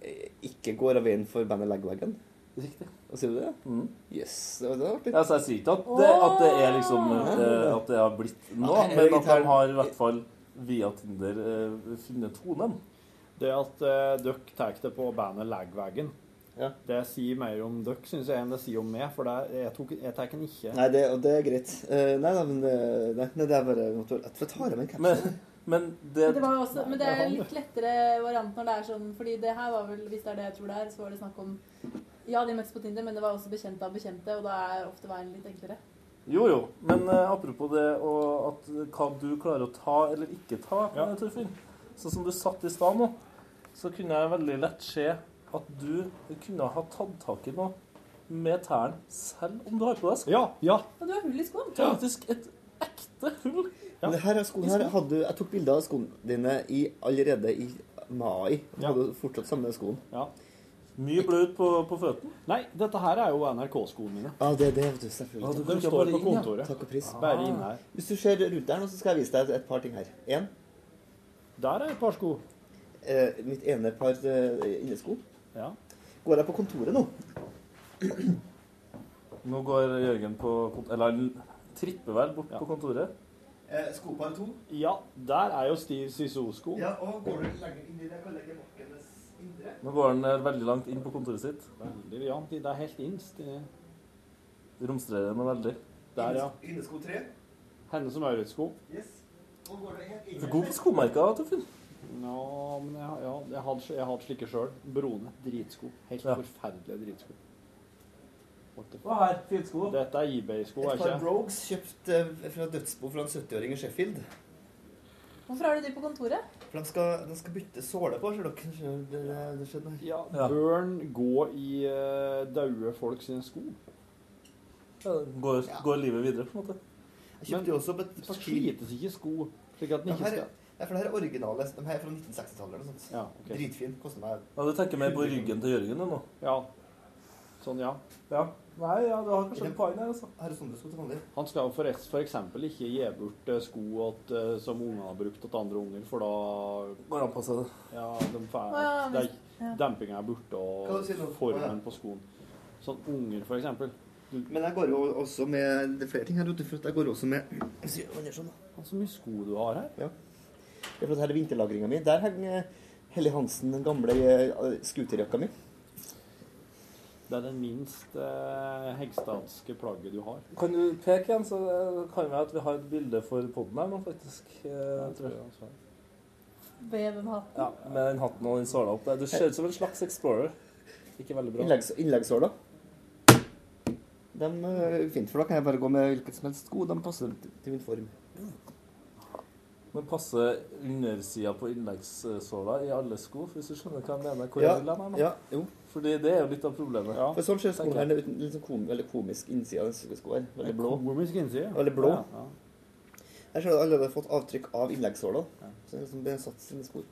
J: eh, ikke går av veien for bandet Legwagon.
K: Riktig.
J: Og sier du det?
K: Mm.
J: Yes, det var det var artig.
K: Altså, jeg sier ikke at det, at det er liksom eh, At det har blitt nå,
J: Nei,
K: men
J: jeg
K: at de har i hvert fall via Tinder eh, funnet tonen.
C: Det at uh, dere tar det på bandet Lagwagon, det sier mer om dere, syns jeg, enn det sier om meg. For det, jeg, tok, jeg tar den ikke.
J: Nei, det, og det er greit. Eh, nei da, men eh, nei, nei, det er bare Jeg tror jeg tar av meg capsen.
K: Men
L: Men det, var jo også, men det er litt lettere variant når det er sånn Fordi det her var vel, hvis det er det jeg tror det er, så var det snakk om Ja, de møttes på Tinder, men det var også bekjente av bekjente, og da er ofte veien litt enklere.
K: Jo, jo. Men eh, apropos det og at eh, hva du klarer å ta eller ikke ta, eh, Torfinn. Sånn som du satt i stad nå, så kunne jeg veldig lett se at du kunne ha tatt tak i noe med tærne selv om du har på deg sko.
C: Ja, ja.
L: Og du har hull i skoen.
K: Faktisk et ekte hull.
J: Men det her er skoen her hadde, du- Jeg tok bilder av skoene dine i, allerede i mai. Og hadde fortsatt samme skoen.
C: Ja.
K: Mye blod på, på føttene.
C: Nei, dette her er jo NRK-skoene mine.
J: Ja, det er det, vet du. Selvfølgelig.
C: Ja,
J: Takk.
C: de
J: Du skal
C: står
J: bare
C: på
J: inn, ja.
C: kontoret.
J: Takk og pris.
C: Bare inn her.
J: Hvis du ser rundt der nå, så skal jeg vise deg et, et par ting her. En.
C: Der er et par sko.
J: Eh, mitt ene par eh, innesko.
C: Ja.
J: Går jeg på kontoret nå?
K: Nå går Jørgen på kont- Eller han tripper vel bort på kontoret.
J: Eh, skopar to.
C: Ja, der er jo Steve Sisso-sko.
J: Ja, og går du lenger inn i det, kan legge markenes indre.
K: Nå går han eh, veldig langt inn på kontoret sitt.
C: Veldig, ja. De- Det er helt innst. eh,
K: Romstrerer henne veldig.
C: Der, ja.
J: Innesko tre.
C: Henne som Maurits-sko.
J: Yes. Og går du helt inn
K: Du er god på skomerka, Torfinn.
C: Ja, men jeg, ja, jeg hadde jeg hadde slike sjøl. Brone. Dritsko. Helt forferdelige dritsko. What the fuck?
K: Og her, fyrtsko.
C: Dette er eBay-sko,
J: Et
C: er
J: par
C: ikke det?
J: Brogues kjøpt eh, fra dødsbo fra en 70-åring i Sheffield.
L: Hvorfor har du de på kontoret?
J: For de skal, de skal bytte såle på, ser dere. Kanskje Det, det, det skjedde noe.
C: Ja, Bør en gå i uh, daue folk sine sko?
K: Går, går livet videre, på en måte.
J: Jeg kjøpte jo også et par
C: så slites ikke sko, slik at den
J: Det
C: ikke
J: her,
C: skal
J: nei, for det her er originale. De her er fra 1960-tallet eller noe sånt.
C: Ja, ok.
J: Dritfin. Koster meg
K: Ja, Du tenker mer på ryggen til Jørgen du, nå?
C: Ja. Sånn, ja.
K: Ja. Nei, ja, du har kanskje et poeng der, altså.
J: Her er sånn du skal til vanlig.
C: Han skal jo for, rest- for eksempel ikke gi bort eh, sko at, eh, som ungene har brukt til andre unger, for da
K: Går an på seg det.
C: Ja, de fær,
L: Å, ja,
C: det er,
L: ja.
C: Dempinga er borte,
J: Hva
C: og
J: sier du nå? Å, ja.
C: formen på skoen. Sånn unger, for eksempel.
J: Men jeg går jo også med Det er flere ting her, vet du, for at jeg går også med Hva sier du, Andersson, da?
C: Så mye sko du har her.
J: Ja. Det er for at her er vinterlagringa mi. Der henger Helly Hansen, den gamle eh, scooterjakka mi.
C: Det er det minst eh, hegstadske plagget du har.
K: Kan du peke igjen, så eh, kan vi at vi har et bilde for poden her nå, faktisk. eh, tror jeg.
L: Ved den hatten.
K: Ja, Med den hatten og den såla opp der. Du ser ut som en slags Explorer. Ikke veldig bra.
J: Innleggs, innleggssåla. De er eh, fint, for da kan jeg bare gå med hvilket som helst sko. De passer til min form.
K: Men passer undersida på innleggssåla i alle sko, hvis du skjønner hva jeg mener? Hvor
J: Ja,
K: jeg vil hen her nå?
J: ja, jo.
K: Fordi det er jo litt av problemet.
J: For sånn ser skoen
K: tenker
J: her
K: jeg.
J: ut. Litt sånn kom, veldig komisk innside av den skoen. her. Veldig blå.
C: Komisk innside.
J: Veldig blå.
C: Ja, ja.
J: Her ser du allerede fått avtrykk av innleggssåla. Så det er liksom det er satt sine spor.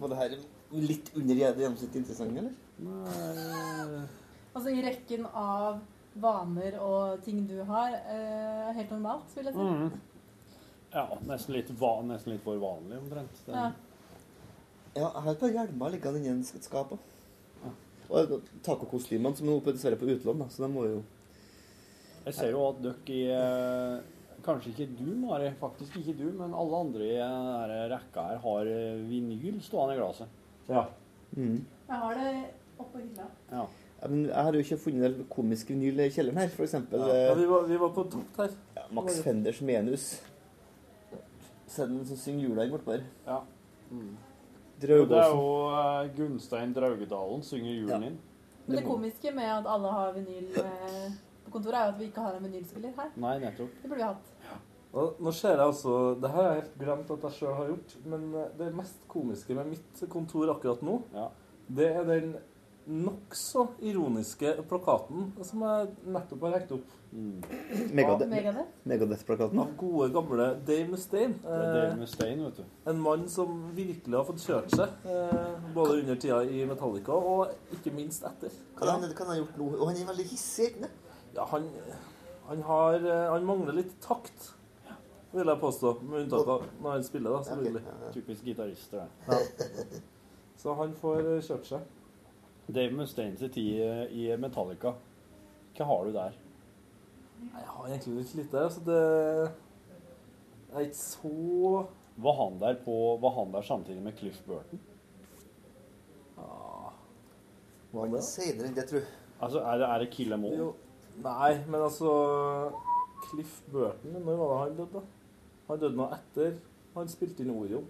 J: Var det her litt under det gjennomsnittet interessant, eller?
L: Altså i rekken av vaner og ting du har, eh, helt normalt, vil jeg si.
C: Mhm. Ja, nesten litt, va nesten litt for vanlig, omtrent. Det-
L: Ja.
J: Ja, jeg har et par hjelmer liggende inni skapet. Og tacokostymene som er oppe dessverre på utlån, da, så de må jo
C: Jeg ser jo at dere i eh, kanskje ikke du, Mari, faktisk ikke du, men alle andre i denne rekka her har eh, vinyl stående i glasset.
J: Ja.
L: Jeg har det oppå hylla.
C: Ja.
J: Ja, Men jeg har jo ikke funnet en komisk vinyl i kjelleren her, for eksempel.
K: Ja,
J: eh,
K: vi, var, vi var på topp her.
J: Max Fenders Menus. Send den som synger jula inn bortpå her.
C: Ja.
J: Mm.
C: Det er
J: Draugåsen.
C: jo eh, Gunstein Draugedalen synger julen inn.
L: Men det komiske med at alle har vinyl eh, på kontoret, er jo at vi ikke har en vinylspiller her.
C: Nei, nettopp.
L: Det burde vi hatt.
K: Nå, nå ser jeg altså Det her har jeg helt glemt at jeg sjøl har gjort, men eh, det mest komiske med mitt kontor akkurat nå, det er den nokså ironiske plakaten som jeg nettopp har hekt opp.
C: Mm.
J: Megade-
K: Megadeth.
J: Megadeth-plakaten.
K: Av gode, gamle Dave Mustaine.
C: Dave
K: Eh,
C: Mustaine, vet du.
K: En mann som virkelig har fått kjørt seg, eh, både under tida i Metallica og ikke minst etter.
J: Hva har han, hva har han gjort nå? Og han er veldig hissig, ikke sant?
K: Ja, han, han har eh, Han mangler litt takt, vil jeg påstå. Med unntak av når han spiller, da, selvfølgelig.
C: Typisk gitarister, det.
K: Ja. Så han får eh, kjørt seg.
C: Dave Mustaine sin tid eh, i Metallica. Hva har du der?
J: (laughs)
K: Nei, Jeg har egentlig litt lite, altså det Jeg er ikke så
C: Var han der, på, var han der samtidig med Cliff Burton?
K: Ah.
J: Var han senere enn det, tror jeg.
C: Altså, er det, er det Kill Em All?
K: Jo, nei, men altså Cliff Burton, når var det han døde, da? Han døde nå etter han spilte inn Orion.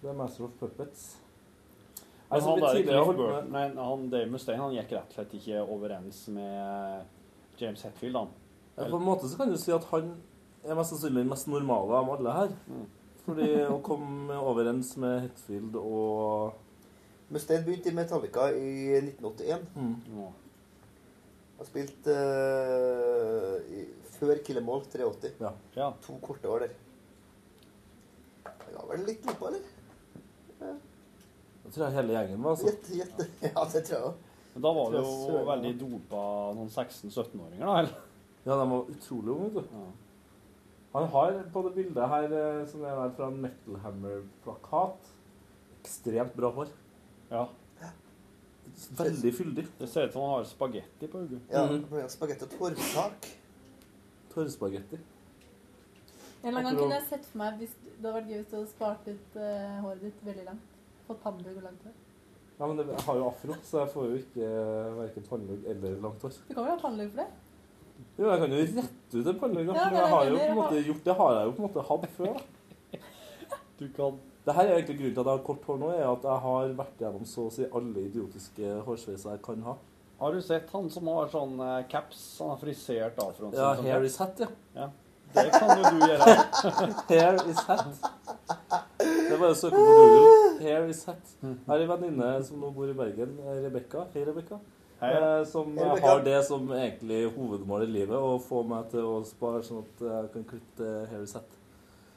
K: Det er Master of Puppets.
C: Men
K: Jeg som
C: han,
K: litt
C: der,
K: tidligere
C: Cliff
K: holdt med-
C: Burton, nei, han Dave Mustaine han gikk rett og slett ikke overens med James Hetfield, han.
K: Ja, på en måte så kan du si at han er mest sannsynlig den mest normale av alle her. Fordi å komme overens med Hetfield og
J: Mustaine begynte i Metallica i 1981.
C: Ja.
J: Han spilte eh, i, før Kill Em All 83.
C: Ja.
J: To korte år der. Jeg har vel litt loppa, eller?
K: Jeg tror jeg hele gjengen
C: Altså.
K: var
J: Gjett, gjett. (laughs) Ja, det tror jeg òg.
C: Men da var det
J: Jeg
C: jo
J: tror jeg søren,
C: veldig dopa noen 16-17-åringer, da? eller?
K: Ja, de var utrolig unge, vet du. Han har på det bildet her, eh, som er der fra en Metal Hammer-plakat, ekstremt bra hår.
C: Ja.
K: Veldig fyldig.
C: Det ser ut som han har spagetti på hodet.
J: Ja, det ble Mm-hmm. spagetti og
C: (laughs)
J: torvtak.
K: Torvspagetti.
L: En eller annen gang kunne jeg sett for meg hvis det hadde vært gøy hvis du hadde spart ut eh, håret ditt veldig langt. Fått pannelugg og langt hår.
K: Ja, men det, jeg har jo afro, så jeg får jo ikke eh, hverken pannelugg eller langt hår.
L: Du kan vel ha pannelugg for det?
K: Jo, jeg kan jo rette ut en pannelugg, da,
L: Ja, men
K: men jeg
L: jeg
K: har jo på
L: mener,
K: en måte
L: ha-
K: gjort det har jeg jo på en måte hatt før. da.
C: (laughs) Du kan
K: Det her er egentlig grunnen til at jeg har kort hår nå, er at jeg har vært gjennom så å si alle idiotiske hårsveiser jeg kan ha.
C: Har du sett han som har sånn eh, caps? Han har frisert afroen
K: Ja,
C: sånn
K: hair is hat, ja.
C: Det kan jo du gjøre.
K: Hair is (laughs) hat. Det er bare å søke på Google. Hair is hat.
C: Mhm.
K: Jeg har en venninne som nå bor i Bergen, eh, Rebekka. Hei, Rebekka.
C: Hei.
K: Eh, som
C: Hei, Rebecca.
K: har det som egentlig hovedmål i livet, å få meg til å spare sånn at jeg kan klippe hair is hat.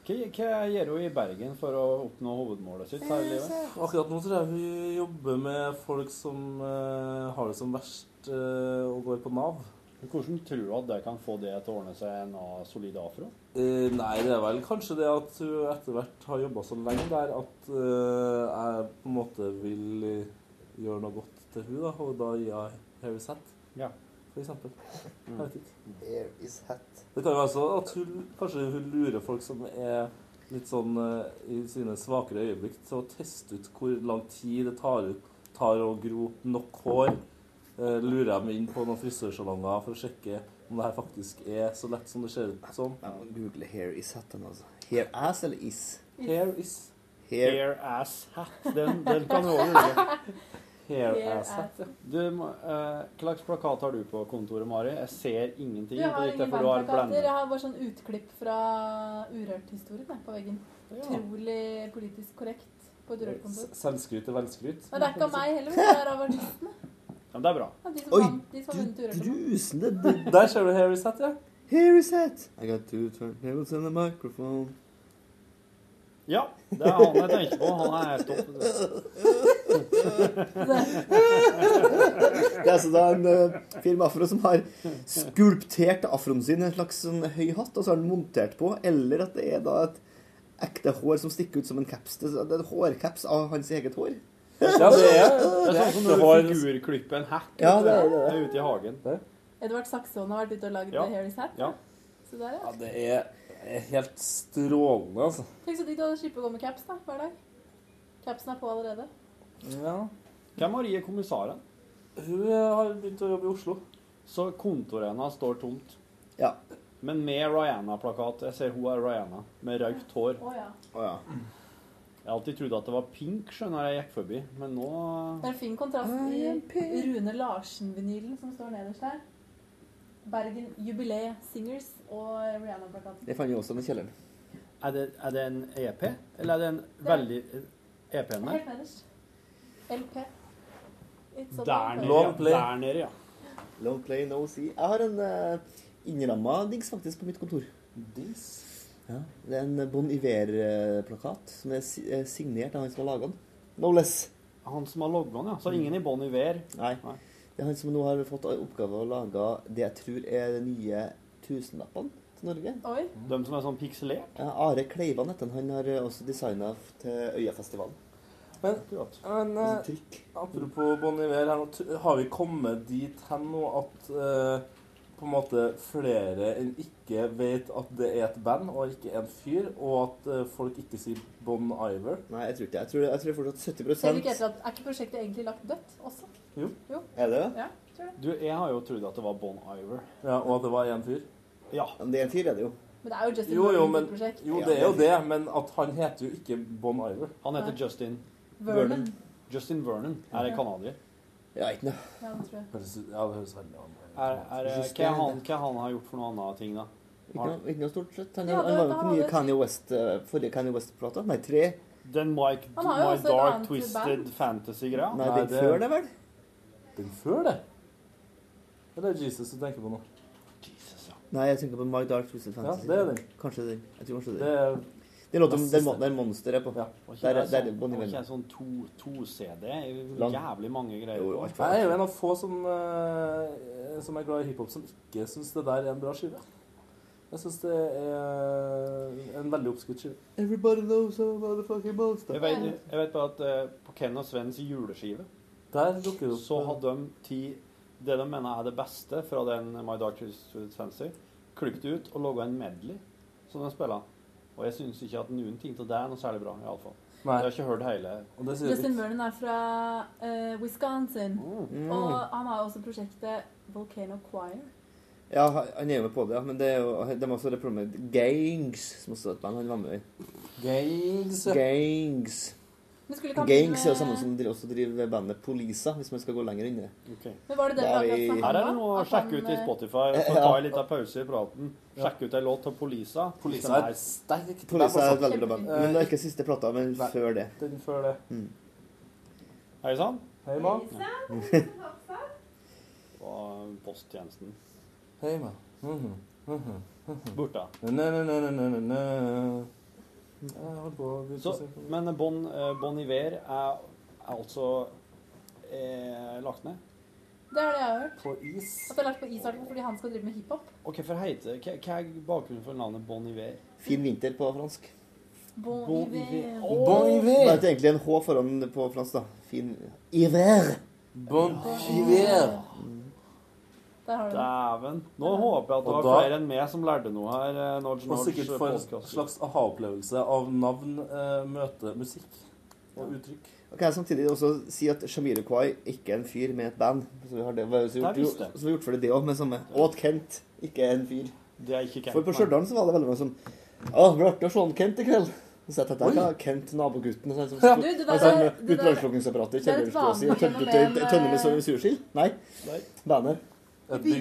C: Hva, hva gjør hun i Bergen for å oppnå hovedmålet sitt her i livet?
K: Akkurat nå tror jeg hun jobber med folk som eh, har det som verst eh, og går på Nav.
C: Hvordan tror du at det kan få det til å ordne seg en eh, solid afro?
K: Eh, nei, det er vel kanskje det at hun etter hvert har jobba så lenge der at eh, jeg på en måte vil eh, gjøre noe godt til hun da, og da gir jeg Harry Sett,
C: Ja.
K: for eksempel. Jeg vet ikke.
J: Mm. Hair is hat.
K: Det kan jo være så at hun kanskje hun lurer folk som er litt sånn eh, i sine svakere øyeblikk, til å teste ut hvor lang tid det tar, ut, tar å gro opp nok hår. Eh, lurer jeg meg inn på noen frisørsalonger for å sjekke om det her faktisk er så lett som det ser ut som.
J: Jeg må google hair is hat. den, altså. Hair ass eller is?
K: Hair is
J: Hair.
C: Hair ass hat. Den, den kan du også gjøre.
K: (laughs) Hair Hair ass hat, ass. ja.
C: Du, eh, Hva slags plakat har du på kontoret, Mari? Jeg ser ingenting.
L: Du jeg har
C: på ditt, for
L: ingen
C: du har
L: bandplakater.
C: blendet.
L: Jeg har bare sånn utklipp fra Urørt-historien jeg, på veggen. Utrolig politisk korrekt på et Urørt-kontor.
K: Selvskryt er velskryt.
L: Men det er ikke av meg heller, men det er av artistene.
C: Ja, det er bra.
L: Ja, de som
K: Oi,
L: vant, de som har vunnet Urørt-kontor.
J: Grusende
K: Der ser du Hair is hat, ja.
J: Hair is hat. I got two turntables and a microphone.
C: Ja, det er han jeg tenker på. Han er helt topp.
J: Det er altså da en uh, firma afro som har skulptert afroen sin i en slags sånn høy hatt, og så har den montert på, eller at det er da et ekte hår som stikker ut som en caps. Det er det er en hårcaps av hans eget hår.
K: Ja, det er
C: Det er sånn som når du figurklipper en hekk
J: Ja, det er det.
C: ute i hagen.
L: Edvard Saxon har vært ute og lagd
C: Ja.
L: Harry's Hat.
C: Ja.
L: Se der, ja.
K: Ja, det er, er helt strålende, altså.
L: Tenk så digg å slippe å gå med caps da, hver dag. Capsen er på allerede.
K: Ja.
C: Hvem er Marie Kommissaren?
K: Hun
J: eh,
K: har begynt å jobbe i Oslo.
C: Så kontoret hennes står tomt. Ja. Men med Rihanna-plakat. Jeg ser hun er Rihanna, med røykt hår.
L: Å ja.
C: Jeg har alltid trodd at det var pink, skjønner jeg, jeg gikk forbi, men nå
L: Det er en fin kontrast i Rune Larsen-vinylen som står nederst her. Bergen Jubileet Singers og Rihanna-plakaten.
J: Det fant vi også med kjelleren.
C: Er det, er det en EP, eller er det en veldig E EP-en der?
L: Helt nederst. LP. It's a
C: Der
L: long
C: nede,
J: Long play.
C: ja. Der nede, ja.
J: Long play, no see. Jeg har en uh, innramma dings faktisk på mitt kontor.
K: Dings?
J: Ja, Det er en Bon Iver-plakat som er si- eh, signert av han som har laga den. No less.
C: Han som har logga den, ja. Så ingen i Bon Iver?
J: Nei. Det er han som nå har fått i oppgave å lage det jeg tror er de nye tusenlappene til Norge.
L: Oi.
C: De som er sånn pikselert?
J: Ja, Are Kleivan heter han. Han har eh, også designa til Øyafestivalen.
K: Men, men eh, apropos Bon Iver, her, nå, t- har vi kommet dit hen nå at eh, på en måte flere enn ikke vet at det er et band og ikke en fyr, og at eh, folk ikke sier Bon Iver?
J: Nei, jeg tror ikke det. Jeg tror, jeg tror
L: Ser du
J: fortsatt
L: ikke etter at Er ikke prosjektet egentlig lagt dødt også?
C: Jo.
L: Jo.
J: Er det
L: Ja, tror det.
C: Du, jeg har jo trodd at det var Bon Iver.
K: Ja, Og at det var én fyr?
C: Ja.
J: Men det er en fyr, er det jo.
L: Men det er jo Justin
K: Jo, jo, men,
L: Bieber prosjekt.
K: jo, det er jo det, men at han heter jo ikke Bon Iver.
C: Han heter
L: Nei.
C: Justin
L: Vernon.
C: Justin Vernon. Er det
L: Ja.
C: canadier?
J: Ja, ikke noe.
L: Ja, det tror jeg.
K: Høres ut- Ja, det høres veldig an
C: Er, er, hva,
J: Justin.
C: han, hva han har gjort for noe annet ting, da?
J: Ikke noe, ikke noe stort sett. Han,
L: Ja,
J: han
L: det-
J: var jo
L: da
J: på
L: har
J: nye
L: det-
J: Kanye West, eh, forrige Kanye West-plata. Nei, tre.
C: Den Mike,
L: Han har jo
C: My
L: også et
C: Dark
L: annet
C: Twisted
L: band.
C: Fantasy-greia?
J: Nei, den før det, vel?
K: Den før det? Eller er det Jesus du tenker på nå?
J: Nei, jeg tenker på My Dark Twisted Fantasy.
K: det er den.
J: Kanskje den. Jeg tror kanskje
K: Det er-
J: den. Det er låta om
K: Det er
J: den, den monsteret er på.
C: Var ikke
J: Der,
C: det
J: der, der
C: sånn-
J: Bon
C: var ikke
J: Iver.
C: det sånn to, to CD?
J: Lang.
C: Jævlig mange greier.
J: Jo, jo,
C: på.
J: alt
K: Jeg er jo en av få som, eh, som er glad i hiphop, som ikke syns det der er en bra skive. Jeg syns det er en veldig oppskutt skive.
J: Everybody knows I'm a motherfucking monster.
C: Jeg vet, jeg vet bare at eh, på Ken og Svens juleskive
K: Der dukker det opp
C: Så hadde de ti Det de mener er det beste fra den My Dark Twisted Fancy, klippet ut og laga en medley som de spiller. Og jeg syns ikke at noen ting til det er noe særlig bra, iallfall. Jeg har ikke hørt hele
L: Justin Vernon er fra eh, Wisconsin.
J: Mm.
L: Og han har jo også prosjektet Volcano Choir.
J: Ja, han er jo med på det, ja. Men det er jo, de har også det problemet med Gangs, som også er et band han var med i.
K: Gangs,
J: ja. Gangs.
L: Men skulle ikke han
J: Gangs er jo
L: drive-
J: samme som dri- også driver bandet Polisa, hvis man skal gå lenger inn i det.
L: Men var det det
J: Da
L: vi akkurat snakket
C: Her er det
L: om,
C: noe å
L: at han,
C: sjekke ut i
L: eh,
C: Spotify. og Så ta en liten pause i praten. Sjekke ut ei låt av Polisa.
K: Polisa er et sterkt
J: Polisa er
C: band,
J: et veldig bra band. Men det er ikke siste plata, men
K: Nei.
J: før det.
K: Den før det.
J: Mm.
C: Hei sann.
K: Hei, ma. (laughs)
C: Og eh, posttjenesten.
K: Hei, ma. Mhm, mhm, mhm.
C: Borte.
K: Næ, næ, næ, næ, næ, næ, næ. Jeg holdt på å begynne
C: Så,
K: å se på-
C: men Bon, eh, bon Iver er, er altså eh, lagt ned.
L: Det er det jeg har hørt.
K: På is.
L: At det er lagt på is i hvert fall, fordi han skal drive med hiphop.
C: Ok, for heite, hva, hva er bakgrunnen for navnet Bon Iver?
J: Fin vinter på fransk.
L: Bon,
C: Bon
L: Iver.
C: Iver.
J: Bon Iver! Det er egentlig en H foran på fransk, da. Fin Iver.
K: Bon Iver.
L: Der har du det.
C: Dæven. Nå håper jeg at
K: Og
C: det var
K: da-
C: flere enn meg som lærte noe her. eh, Nudge,
K: Og
C: nudge,
K: sikkert få en
C: podcast.
K: slags aha-opplevelse av navn, eh, møte, musikk og uttrykk.
J: Og kan jeg samtidig også si at Shamirukwai ikke er en fyr med et band. Så vi har det, så vi har
C: Det
J: gjort,
C: visste jeg.
J: så vi har gjort for det, det òg, med samme. Og at Kent ikke er en fyr.
C: Det er ikke Kent,
J: For på
C: nei.
J: Stjørdal så var det veldig mange som Å, det blir artig å se han Kent i kveld. Så jeg tenkte,
C: Oi.
J: ja, Kent, nabogutten og sånn som
L: Du, det der-
J: Han sånn
L: det der-
J: uten landslukningsapparatet i
L: det er et
J: kjellerstua si.
L: vanlig fenomen, eh,
J: Tønne med sånn sursild? Nei.
C: Nei.
J: Bandet.
L: I, by,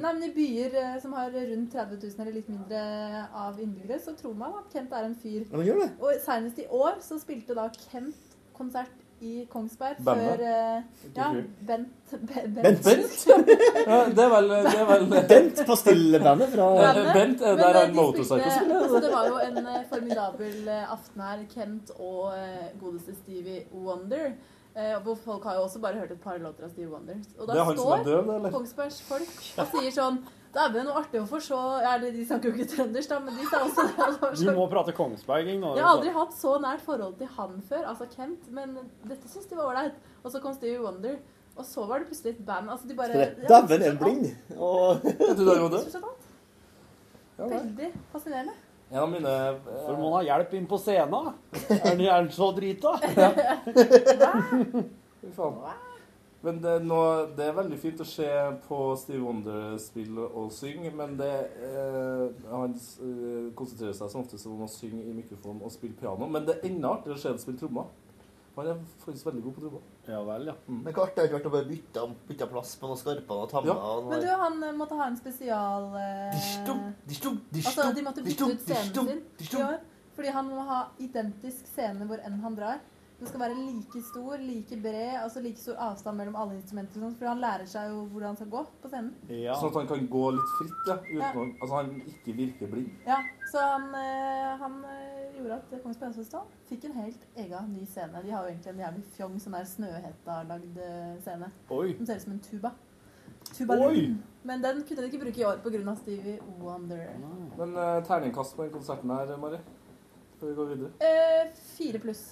L: nei, men I byer eh, som har rundt 30 000 eller litt mindre av innbyggere, så tror man at Kent er en fyr.
J: Ja, men gjør det.
L: Og senest i år så spilte da Kent konsert i Kongsberg
K: Bandet.
L: før eh, Ja,
K: Ikke
L: Bent Be- (laughs)
J: Bent.
K: Ja, det er vel, det er vel
J: (laughs) Bent, pastillebandet fra
K: Ja, det er Bent, eh,
L: Men,
K: der
L: eh,
K: har
L: de
K: en motorcycle
L: spilte-
K: spiller.
L: altså, Det var jo en eh, formidabel eh, aften her. Kent og eh, godeste Stevie Wonder. Eh, Hvor folk har jo også bare hørt et par låter av Stevie Wonder. Og da
K: Det er han som er
L: står
K: døv, det, eller?
L: Kongsbergs folk og sier sånn Dæven, noe artig å få se ja, eller De snakker jo ikke trøndersk, da, men de sa også det. altså,
C: Du må prate kongsberging nå.
L: jeg har aldri hatt så nært forhold til han før, altså Kent, men dette syns de var ålreit. Og så kom Stevie Wonder, og så var det plutselig et band. Altså, de bare
J: Dæven, er han blind? Og
L: Jeg
K: trodde han var død.
L: Stort sett alt. Veldig fascinerende.
K: En av mine eh,
C: For må ha hjelp inn på scenen. Er den gjerne så drita?
K: Fy faen. Men det, nå, det er veldig fint å se på Steve Wonder spille og synge, men det, eh, han eh, konsentrerer seg som oftest om å synge i mikrofonen og spille piano. Men det er enda artigere å se ham spille trommer. Han er faktisk veldig god på trommer.
C: Ja vel, ja.
J: Mm. Men hva artig hadde vært å bare bytte, bytte plass på noen skarper og tammer? og noe-
L: Men du, han eh, måtte ha en spesial eh, Altså, de måtte bytte ut scenen sin i år. Fordi han må ha identisk scene hvor enn han drar. Den skal være like stor, like bred, altså like stor avstand mellom alle instrumenter. og sånt, Fordi han lærer seg jo hvordan han skal gå på scenen.
K: Sånn at han kan gå litt fritt, ja. Uten
L: Ja.
K: Å, altså han ikke virker blind.
L: Ja, så han, eh, han eh, gjorde at Kongens Pensjonsdal fikk en helt ega ny scene. De har jo egentlig en jævlig fjong sånn der Snøhetta-lagd eh, scene.
C: Oi.
L: Som ser ut som en tuba. Tubalin. Men den kunne de ikke bruke i år pga. Stevie Wonder.
K: Men eh, terningkast på den konserten her, Mari. Før vi går videre.
L: Eh, fire pluss.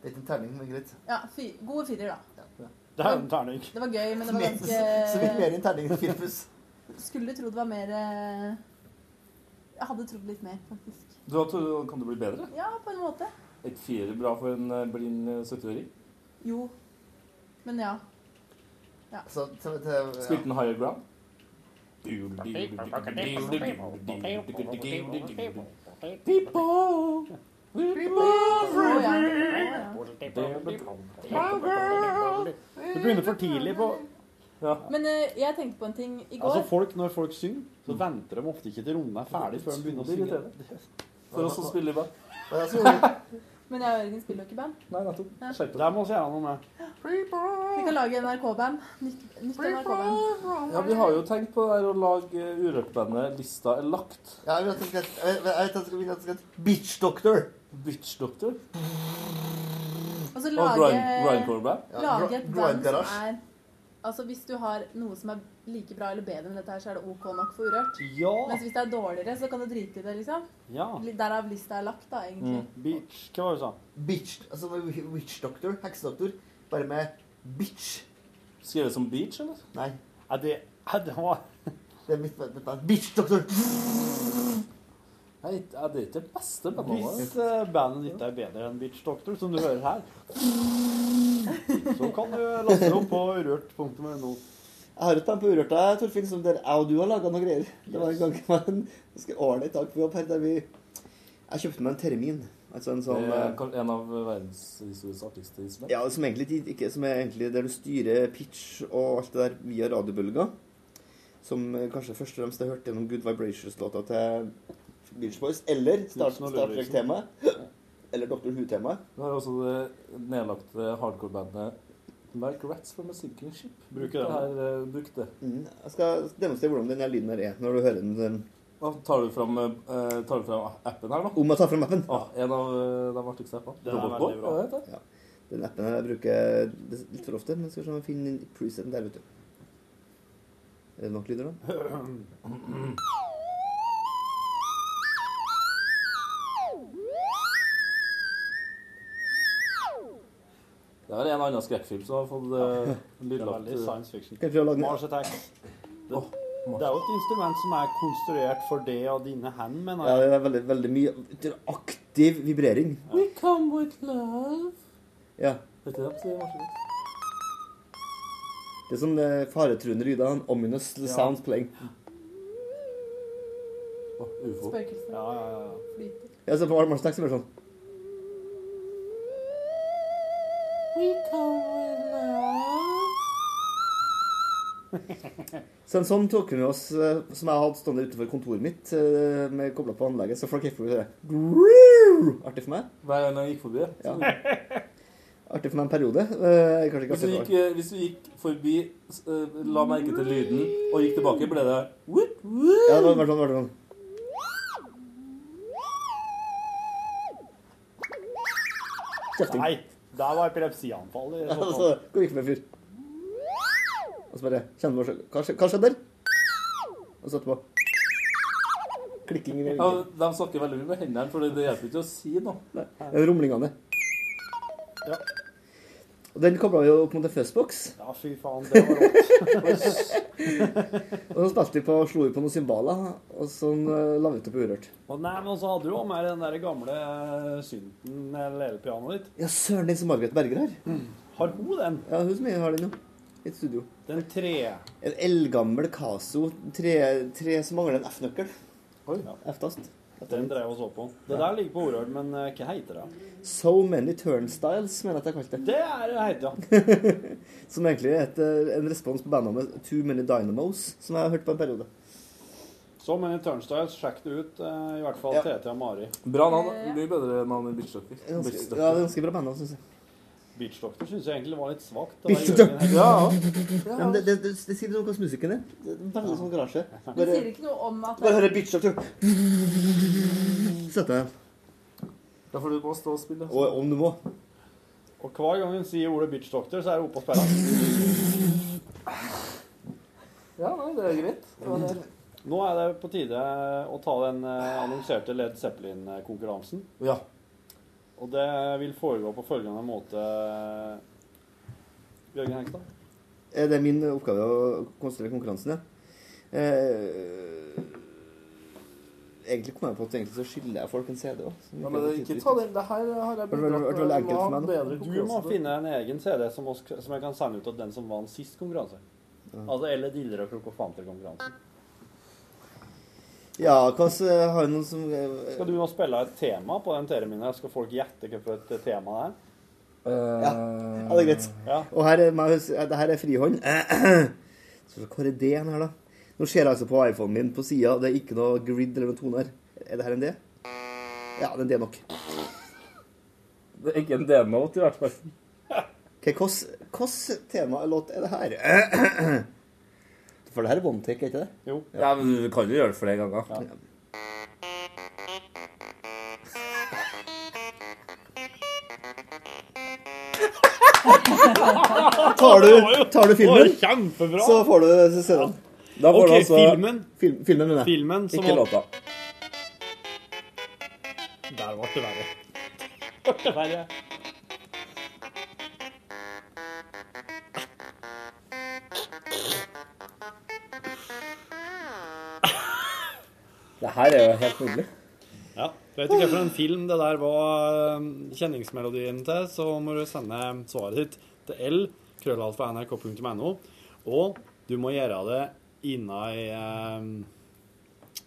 J: Liten terning, men greit.
L: Ja, fi, gode firer, da.
J: Det er en terning.
L: Det var gøy, men det var ganske
J: Så litt mer enn terning enn firpus.
L: Skulle tro det var mer eh, Jeg hadde trodd litt mer, faktisk.
K: Du har trodd kan det bli bedre?
L: Ja, på en måte.
K: Et fire bra for en eh, blind eh, 70-åring?
L: Jo. Men ja. Ja.
J: Så, så, så,
K: Spilte den higher ground?
C: Du begynner for tidlig på
L: Men eh, jeg tenkte på en ting i går.
C: Altså folk, Når folk synger, så venter de ofte ikke til rommet er ferdig før de begynner å synge.
K: For oss som spiller i band.
L: Men jeg og Jørgen spiller jo ikke i band.
K: Nei, nettopp.
C: Skjerp deg. Der må vi gjøre noe med.
L: Vi kan lage NRK-band. Nytt, nytt NRK-band.
K: Ja, vi har jo tenkt på det her å lage eh, Urørt-bandet Lista er lagt.
J: Ja, jeg vil at det skal jeg vil- jeg vet at det skal- jeg vil at det skal Bitch Doctor.
K: Bitch Doctor?
L: Og så
K: Og
L: lage,
K: grind- grindcore-band? Ja,
L: lage et
K: gr-
L: band som
K: grindgarage.
L: er Altså Hvis du har noe som er like bra eller bedre enn dette, her, så er det OK nok for urørt.
C: Ja.
L: Mens hvis det er dårligere, så kan du drite i det, liksom.
C: ja.
L: Litt Derav lista er lagt, da,
K: Mm.
L: egentlig.
C: Bitch. Hva var det du sa?
J: Bitch. Altså Witch Doctor. Heksedoktor. Bare med bitch.
K: Skrevet som beach, eller?
J: Nei.
C: Ja, det, ja, det var
J: Det er mitt mitt navn. Bitch Doctor.
K: Nei, ja, det er ikke det beste bandet vårt.
C: Hvis eh, bandet ditt er bedre enn Bitch Doctor, som du hører her, så kan du laste det opp på urørt.no.
J: Jeg har et band på Urørta, Torfinn, som der jeg og du har laga noen greier. Det var en gang det var en ganske ålreit dag på jobb her der vi Jeg kjøpte meg en termin. Altså en sånn
K: Det er
J: eh,
K: kanskje en av verdenshistoriens artigste instrument.
J: Ja, altså- som egentlig ikke- ikke Som er egentlig der du styrer pitch og alt det der via radiobølger. Som eh, kanskje først og fremst jeg hørte gjennom Good Vibrations-låta til Beach Boys. Eller Star
K: Knutsen og
J: Star
K: Ludvigsen.
J: Trek-temaet. Eller Dr. Who-temaet.
K: Vi har også det nedlagte hardcore-bandet Like Rats from a Sinking Ship.
J: Bruker det.
K: Her, eh, bruk det.
J: Jeg skal demonstrere hvordan den her lyden her er når du hører den. den.
K: Da tar, du fram, eh, tar du fram appen her, da?
J: Om jeg tar fram appen?
K: Ah, en av eh, de artigste appene.
J: Den er
K: Robotboy,
J: veldig bra.
K: hva heter det?
J: Den appen her jeg bruker litt for ofte, men skal se om jeg finner den preseten der, vet du. Er det
K: (clears throat)
J: nok lyder, da?
K: Det er en annen skrekkfilm som har fått eh, (laughs) lydlagt
C: veldig science fiction.
J: Skal jeg prøve å lage den?
C: Mars Attack. Det, det er jo et instrument som er konstruert for det og dine hand, mener
J: Ja,
C: jeg.
J: det er veldig, veldig mye det er aktiv vibrering.
K: We come with love.
J: Ja.
K: Vet du det? sier Martin.
J: Det er sånn eh, faretruende lyder. en Ominous
K: Ja.
J: sounds playing.
K: Ufo.
L: Spøkelser.
K: Ja, ja, ja.
L: Flyter.
J: Ja, så på Mars Attack så blir det sånn.
K: We come with love. (laughs)
J: Så en sånn tok vi med oss, eh, som jeg hadde stående utenfor kontoret mitt, eh, med kobla på anlegget, så folk gikk forbi og hørte Artig for meg.
K: Hver gang jeg gikk forbi.
J: Ja. Artig for meg en periode. Eh, kanskje ikke
K: Hvis du
J: artig for
K: gikk, eh, hvis du gikk forbi, s- eh, la merke til lyden, og gikk tilbake, ble det woot, woot.
J: Ja, det var- var sånn, var det sånn. Kjefting.
C: Nei, der var epilepsianfall. i
J: Ja,
K: sånn.
C: så fall.
J: (laughs) så går vi ikke med fyr. Og så bare kjenner man Hva skje- hva skjedde der? Og så etterpå Klikking i
K: Ja, de snakker veldig mye med hendene,
J: Eh,
K: for det hjelper ikke å si noe.
J: Rumlingene.
C: Ja.
J: Og Og den kobla vi jo opp mot en fuzzbox.
C: Ja, fy faen, det var rått.
J: (laughs) og så spilte vi på, slo vi på noen cymbaler, og sånn uh, la vi ut på Urørt.
C: Og nei, men så hadde du jo med den der gamle eh, synten eller elpianoet ditt.
J: Ja, søren, den som Margaret Berger har.
C: Har hun Mm. den?
J: Ja, hun som jeg har den, jo. I et studio.
C: Den tre...
J: En eldgammel Caso tre, tre som mangler en F-nøkkel.
C: Ja.
J: F-tast.
C: Den drev og så på. Det der ligger på Orørt, men eh, hva heter det?
J: So Many Turnstiles, mener jeg at jeg kalte det.
C: Det er det heter, ja.
J: Som egentlig er et, eh, en respons på bandnavnet Too Many Dynamos, som jeg har hørt på en periode.
C: Så men i Turnstiles, sjekk det ut. eh, I hvert fall
J: Ja.
C: TT og Mari.
K: Bra navn. da. Mye bedre navn enn Bitch Doctor.
J: Ganske, ja, det er ganske bra altså. bandnavn, syns jeg.
C: Beach Doctor synes jeg egentlig var litt svagt. Det var
J: Bitte
C: Jørgen
J: dørt.
C: Heggen. (laughs)
J: Ja, men det, det, det, det sier noe om hvordan musikken er. Det er Veldig sånn garasje.
L: Du
J: Bare,
L: sier ikke noe om at
J: bare høre bitch doctor. Sette deg.
K: Da får du bare stå og spille. altså.
J: Og om du må.
C: Og hver gang hun sier ordet Beach Doctor, så er hun oppe og spiller.
K: Ja, nei, det er greit. Det var det.
C: Nå er det på tide å ta den eh, annonserte Led Zeppelin-konkurransen.
K: Ja.
C: Og det vil foregå på følgende måte Jørgen Hengstad?
J: Eh, Det er min oppgave å konstruere konkurransen, ja. Eh, egentlig kom jeg på at egentlig så skylder jeg folk en CD òg.
K: Ja, men ikke ta den. Det her har jeg
J: Var det veldig- var det veldig enkelt for meg nå?
C: Du må finne en egen CD som, oss, som jeg kan sende ut av den som vant sist konkurranse. Altså eller diller og krokofanter-konkurransen.
J: Ja, hva s- har du noen som eh,
C: Skal du nå spille et tema på den tv min her? Skal folk gjette hvilket tema det er?
K: Eh,
J: Ja. ja, det er greit.
C: Ja.
J: Og her er, meg- det her er frihånd. (clears throat) Så Hvor er det hen her, da? Nå ser jeg altså på iPhonen min på sida. Det er ikke noe grid eller noen toner. Er det her en D? Ja, det er en D nok.
K: Det er ikke en D-note, i hvert fall.
J: Ok, Hvilket tema eller låt er det her? For det her er one take, er ikke det?
C: Jo.
K: Ja, men du kan jo gjøre det flere ganger.
J: (laughs) Tar du, tar du filmen,
C: Å, kjempebra!
J: så får du se den.
C: Da får du Ok, altså-
K: (laughs)
C: filmen.
J: Film, filmen, mener jeg.
C: Filmen som
J: Ikke
C: var-
J: låta.
C: Der ble det verre. Ble det verre.
K: Det her er jo helt nydelig.
C: Ja. Vet du hvilken film det der var um, kjenningsmelodien til, så må du sende svaret ditt til l krøllalfa nrk.no. Og du må gjøre det um, innen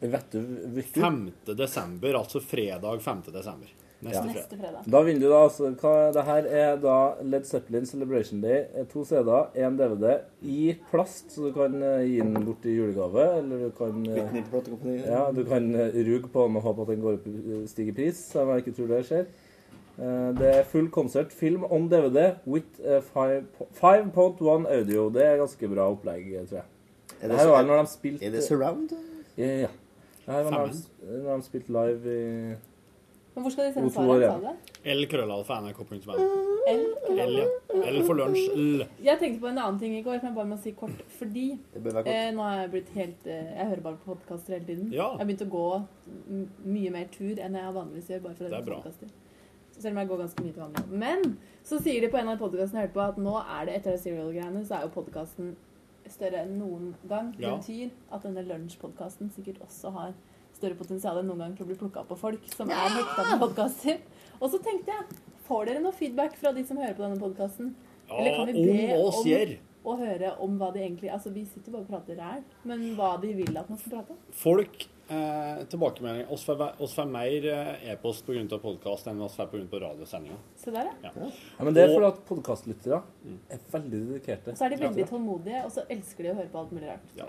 K: Vet du
C: 5. desember, altså fredag 5. desember. Neste
K: Ja.
C: fredag.
K: Da vinner du, da. Altså, hva, det her er da Led Zeppelin Celebration Day. eh, To CD-er, én DVD i plast, så du kan eh, gi den bort i julegave. Eller du kan eh,
J: Bytte den inn på platekompaniet.
K: Ja, du kan eh, ruge på den og håpe at den går opp, i- stiger i pris, selv om jeg ikke tror det skjer. Eh, Det er full konsert. Film on DVD with eh, five po- 5.1 audio. Det er ganske bra opplegg, eh, tror jeg.
J: Er det
K: Det her
J: så-
K: var når de spilte
J: er det surround, da?
K: Ja. ja. Det her var når de, når de spilte live i
L: Men hvor skal de
K: O2
L: sende svaret?
K: Arena.
L: Sa du det?
C: l krøllalfa nrk.no.
L: L?
C: L, ja. L for lunsj. L.
L: Jeg tenkte på en annen ting i går som jeg bare må si kort, fordi
C: Det bør være kort.
L: Eh, nå har jeg blitt helt eh, Jeg hører bare på podkaster hele tiden.
C: Ja.
L: Jeg har begynt å gå m- mye mer tur enn jeg vanligvis gjør. bare for
C: Det er bra.
L: podcaster. Så Selv om jeg går ganske mye til vanlig. Men så sier de på en av podkastene jeg hørte på, at nå er det etter Serial-greiene, så er jo podkasten større enn noen gang. Det
M: Ja.
L: betyr at denne lunsjpodkasten sikkert også har større potensial enn noen gang til å bli plukka opp av folk som er hekta på podkaster. Og så tenkte jeg, får dere noe feedback fra de som hører på denne podkasten?
C: Ja, om oss gjør.
L: å høre om hva de egentlig Altså, vi sitter jo bare og prater ræl, men hva de vil at man skal prate om.
C: Folk eh, tilbakemeldinger. Oss får, ve- oss får mer eh, e-post pga. podkast enn oss får pga. radiosendinga.
L: Se der, ja.
K: Ja, men det er
C: Og-
K: fordi at podkastlyttere er veldig dedikerte.
L: Og så er de veldig tålmodige, og så elsker de å høre på alt mulig rart.
C: Ja.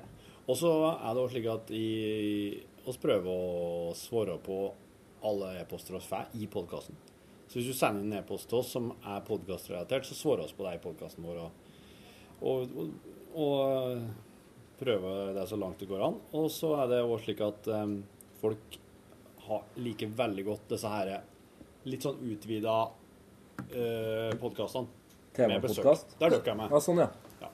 C: Og så er det også slik at i, oss prøver å svare på alle e-poster oss får i podkasten. Så hvis du sender inn en e-post til oss som er podkastrelatert, så svarer oss på det i podkasten vår. Og, og, og, og prøver det så langt det går an. Og så er det også slik at em, folk har, liker veldig godt disse her litt sånn utvida uh, podkastene. med besøk.
K: Temapodkast.
C: Der dukker jeg meg.
K: Ja, sånn, ja.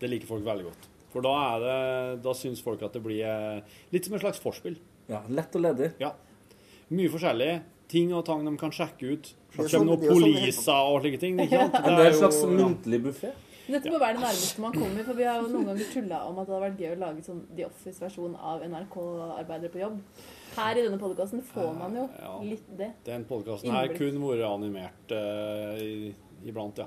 C: Det liker folk veldig godt. For da, er det, da syns folk at det blir eh, litt som et slags vorspiel.
K: Ja, Lett og ledig.
C: Ja. Mye forskjellig. ting og tang de kan sjekke ut.
N: Det er
C: Kommer
N: sånn-
C: noen
N: det er jo sånn det
C: poliser og slike ting. Ikke
N: (laughs)
C: sant?
N: Men det er en slags
C: jo-
N: muntlig buffé.
L: Dette må være det nærmeste man kommer, for vi har jo noen ganger tulla om at det hadde vært gøy å lage sånn The Office-versjon av NRK-arbeidere på jobb. Her i denne podkasten får man jo litt det.
C: Den podkasten her
L: Innblikk.
C: kunne vært animert eh, i- iblant, ja.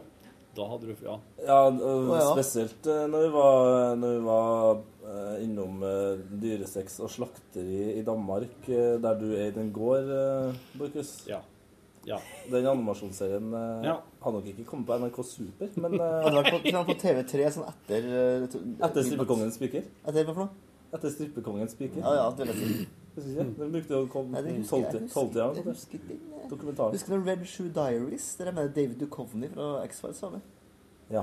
C: Da hadde du Ja.
K: Ja, d-
C: Å, ja.
K: spesielt eh, når vi var, når vi var eh, innom eh, dyresex og slakteri i Danmark, eh, der du er i den gård, eh, Borchhus. Den animasjonsserien eh,
J: Ja.
K: har nok ikke kommet på NRK Super, men eh,
J: Hadde vært på, kunne vært på TV3 sånn etter eh, to-
K: Etter Strippekongens spiker?
J: Etter hva for noe?
K: Etter Strippekongens spiker?
J: Ja, ja, det vil jeg si.
K: Husker ikke? Den brukte å komme
J: Nei, det husker jeg. Jeg husker-
K: tolvtida.
J: jeg husker eh.
K: Dokumentaren.
J: Husker du Red Shoe Diaries? Der er med David Duchovny fra X-Files var med.
K: Ja.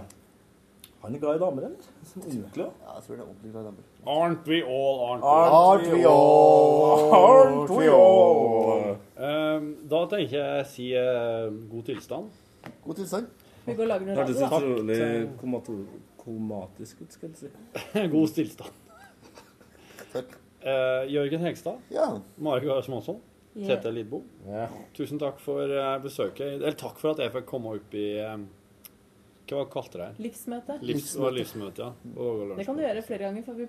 K: Han er glad i damer, eller? Som ordentlig, da?
J: Ja, jeg tror det er ordentlig glad i damer.
C: Aren't we all, aren't,
J: Aren't we all,
K: aren't we all?
C: Ehm, da tenker jeg si eh, god tilstand.
J: God tilstand.
L: Vi går og lager
K: Det
L: noe
K: hørtes
L: radio, da.
K: utrolig
C: (laughs)
K: komato- komatisk ut, skal jeg si.
C: God stillstand. Eh, Jørgen Hegstad. Marik Gahr Småsson.
K: Ja.
C: Tete Lidbom. Tusen takk for eh, besøket. Eller takk for at jeg fikk komme opp i eh, Hva kalte dere det?
L: Livsmøte.
C: Livs, det var livsmøte, ja. Og lunsj.
L: Det kan du gjøre flere ganger. For vi,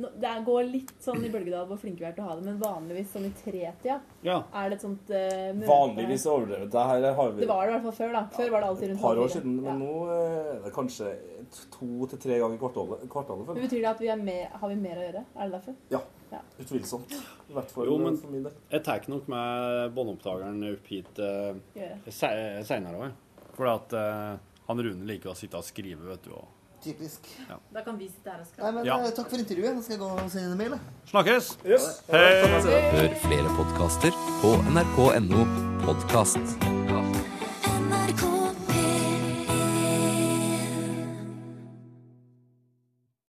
L: nå- det er- går litt sånn i bølgedal hvor flinke vi er til å ha det, men vanligvis sånn i tretida
C: Ja.
L: er det et sånt eh, møte.
K: Vanligvis overdrevet. Det her har vi
L: Det var det i hvert fall før, da. Før var det alltid
K: et
L: rundt
K: par
L: halv
K: år
L: fire.
K: siden, men nå eh, er det kanskje to til tre ganger i kvartalet. kvartalet
L: Men
K: føler jeg.
L: Betyr det at vi er med, har vi mer å gjøre? Er det derfor?
K: Ja,
L: Ja.
K: utvilsomt. I hvert fall
C: Jo, men
K: for min del.
C: jeg tar nok med båndopptakeren opp hit eh,
L: Gjør det.
C: se- seinere òg. For at eh, han Rune liker å sitte og skrive, vet du. Og...
J: Typisk.
C: Ja.
L: Da kan vi sitte her og
J: Nei, men
C: Ja.
J: eh, Takk for intervjuet. Nå skal jeg gå og sende en mail. jeg.
C: Snakkes!
J: Yes.
C: Hei!
O: Hør flere podkaster på nrk.no podkast.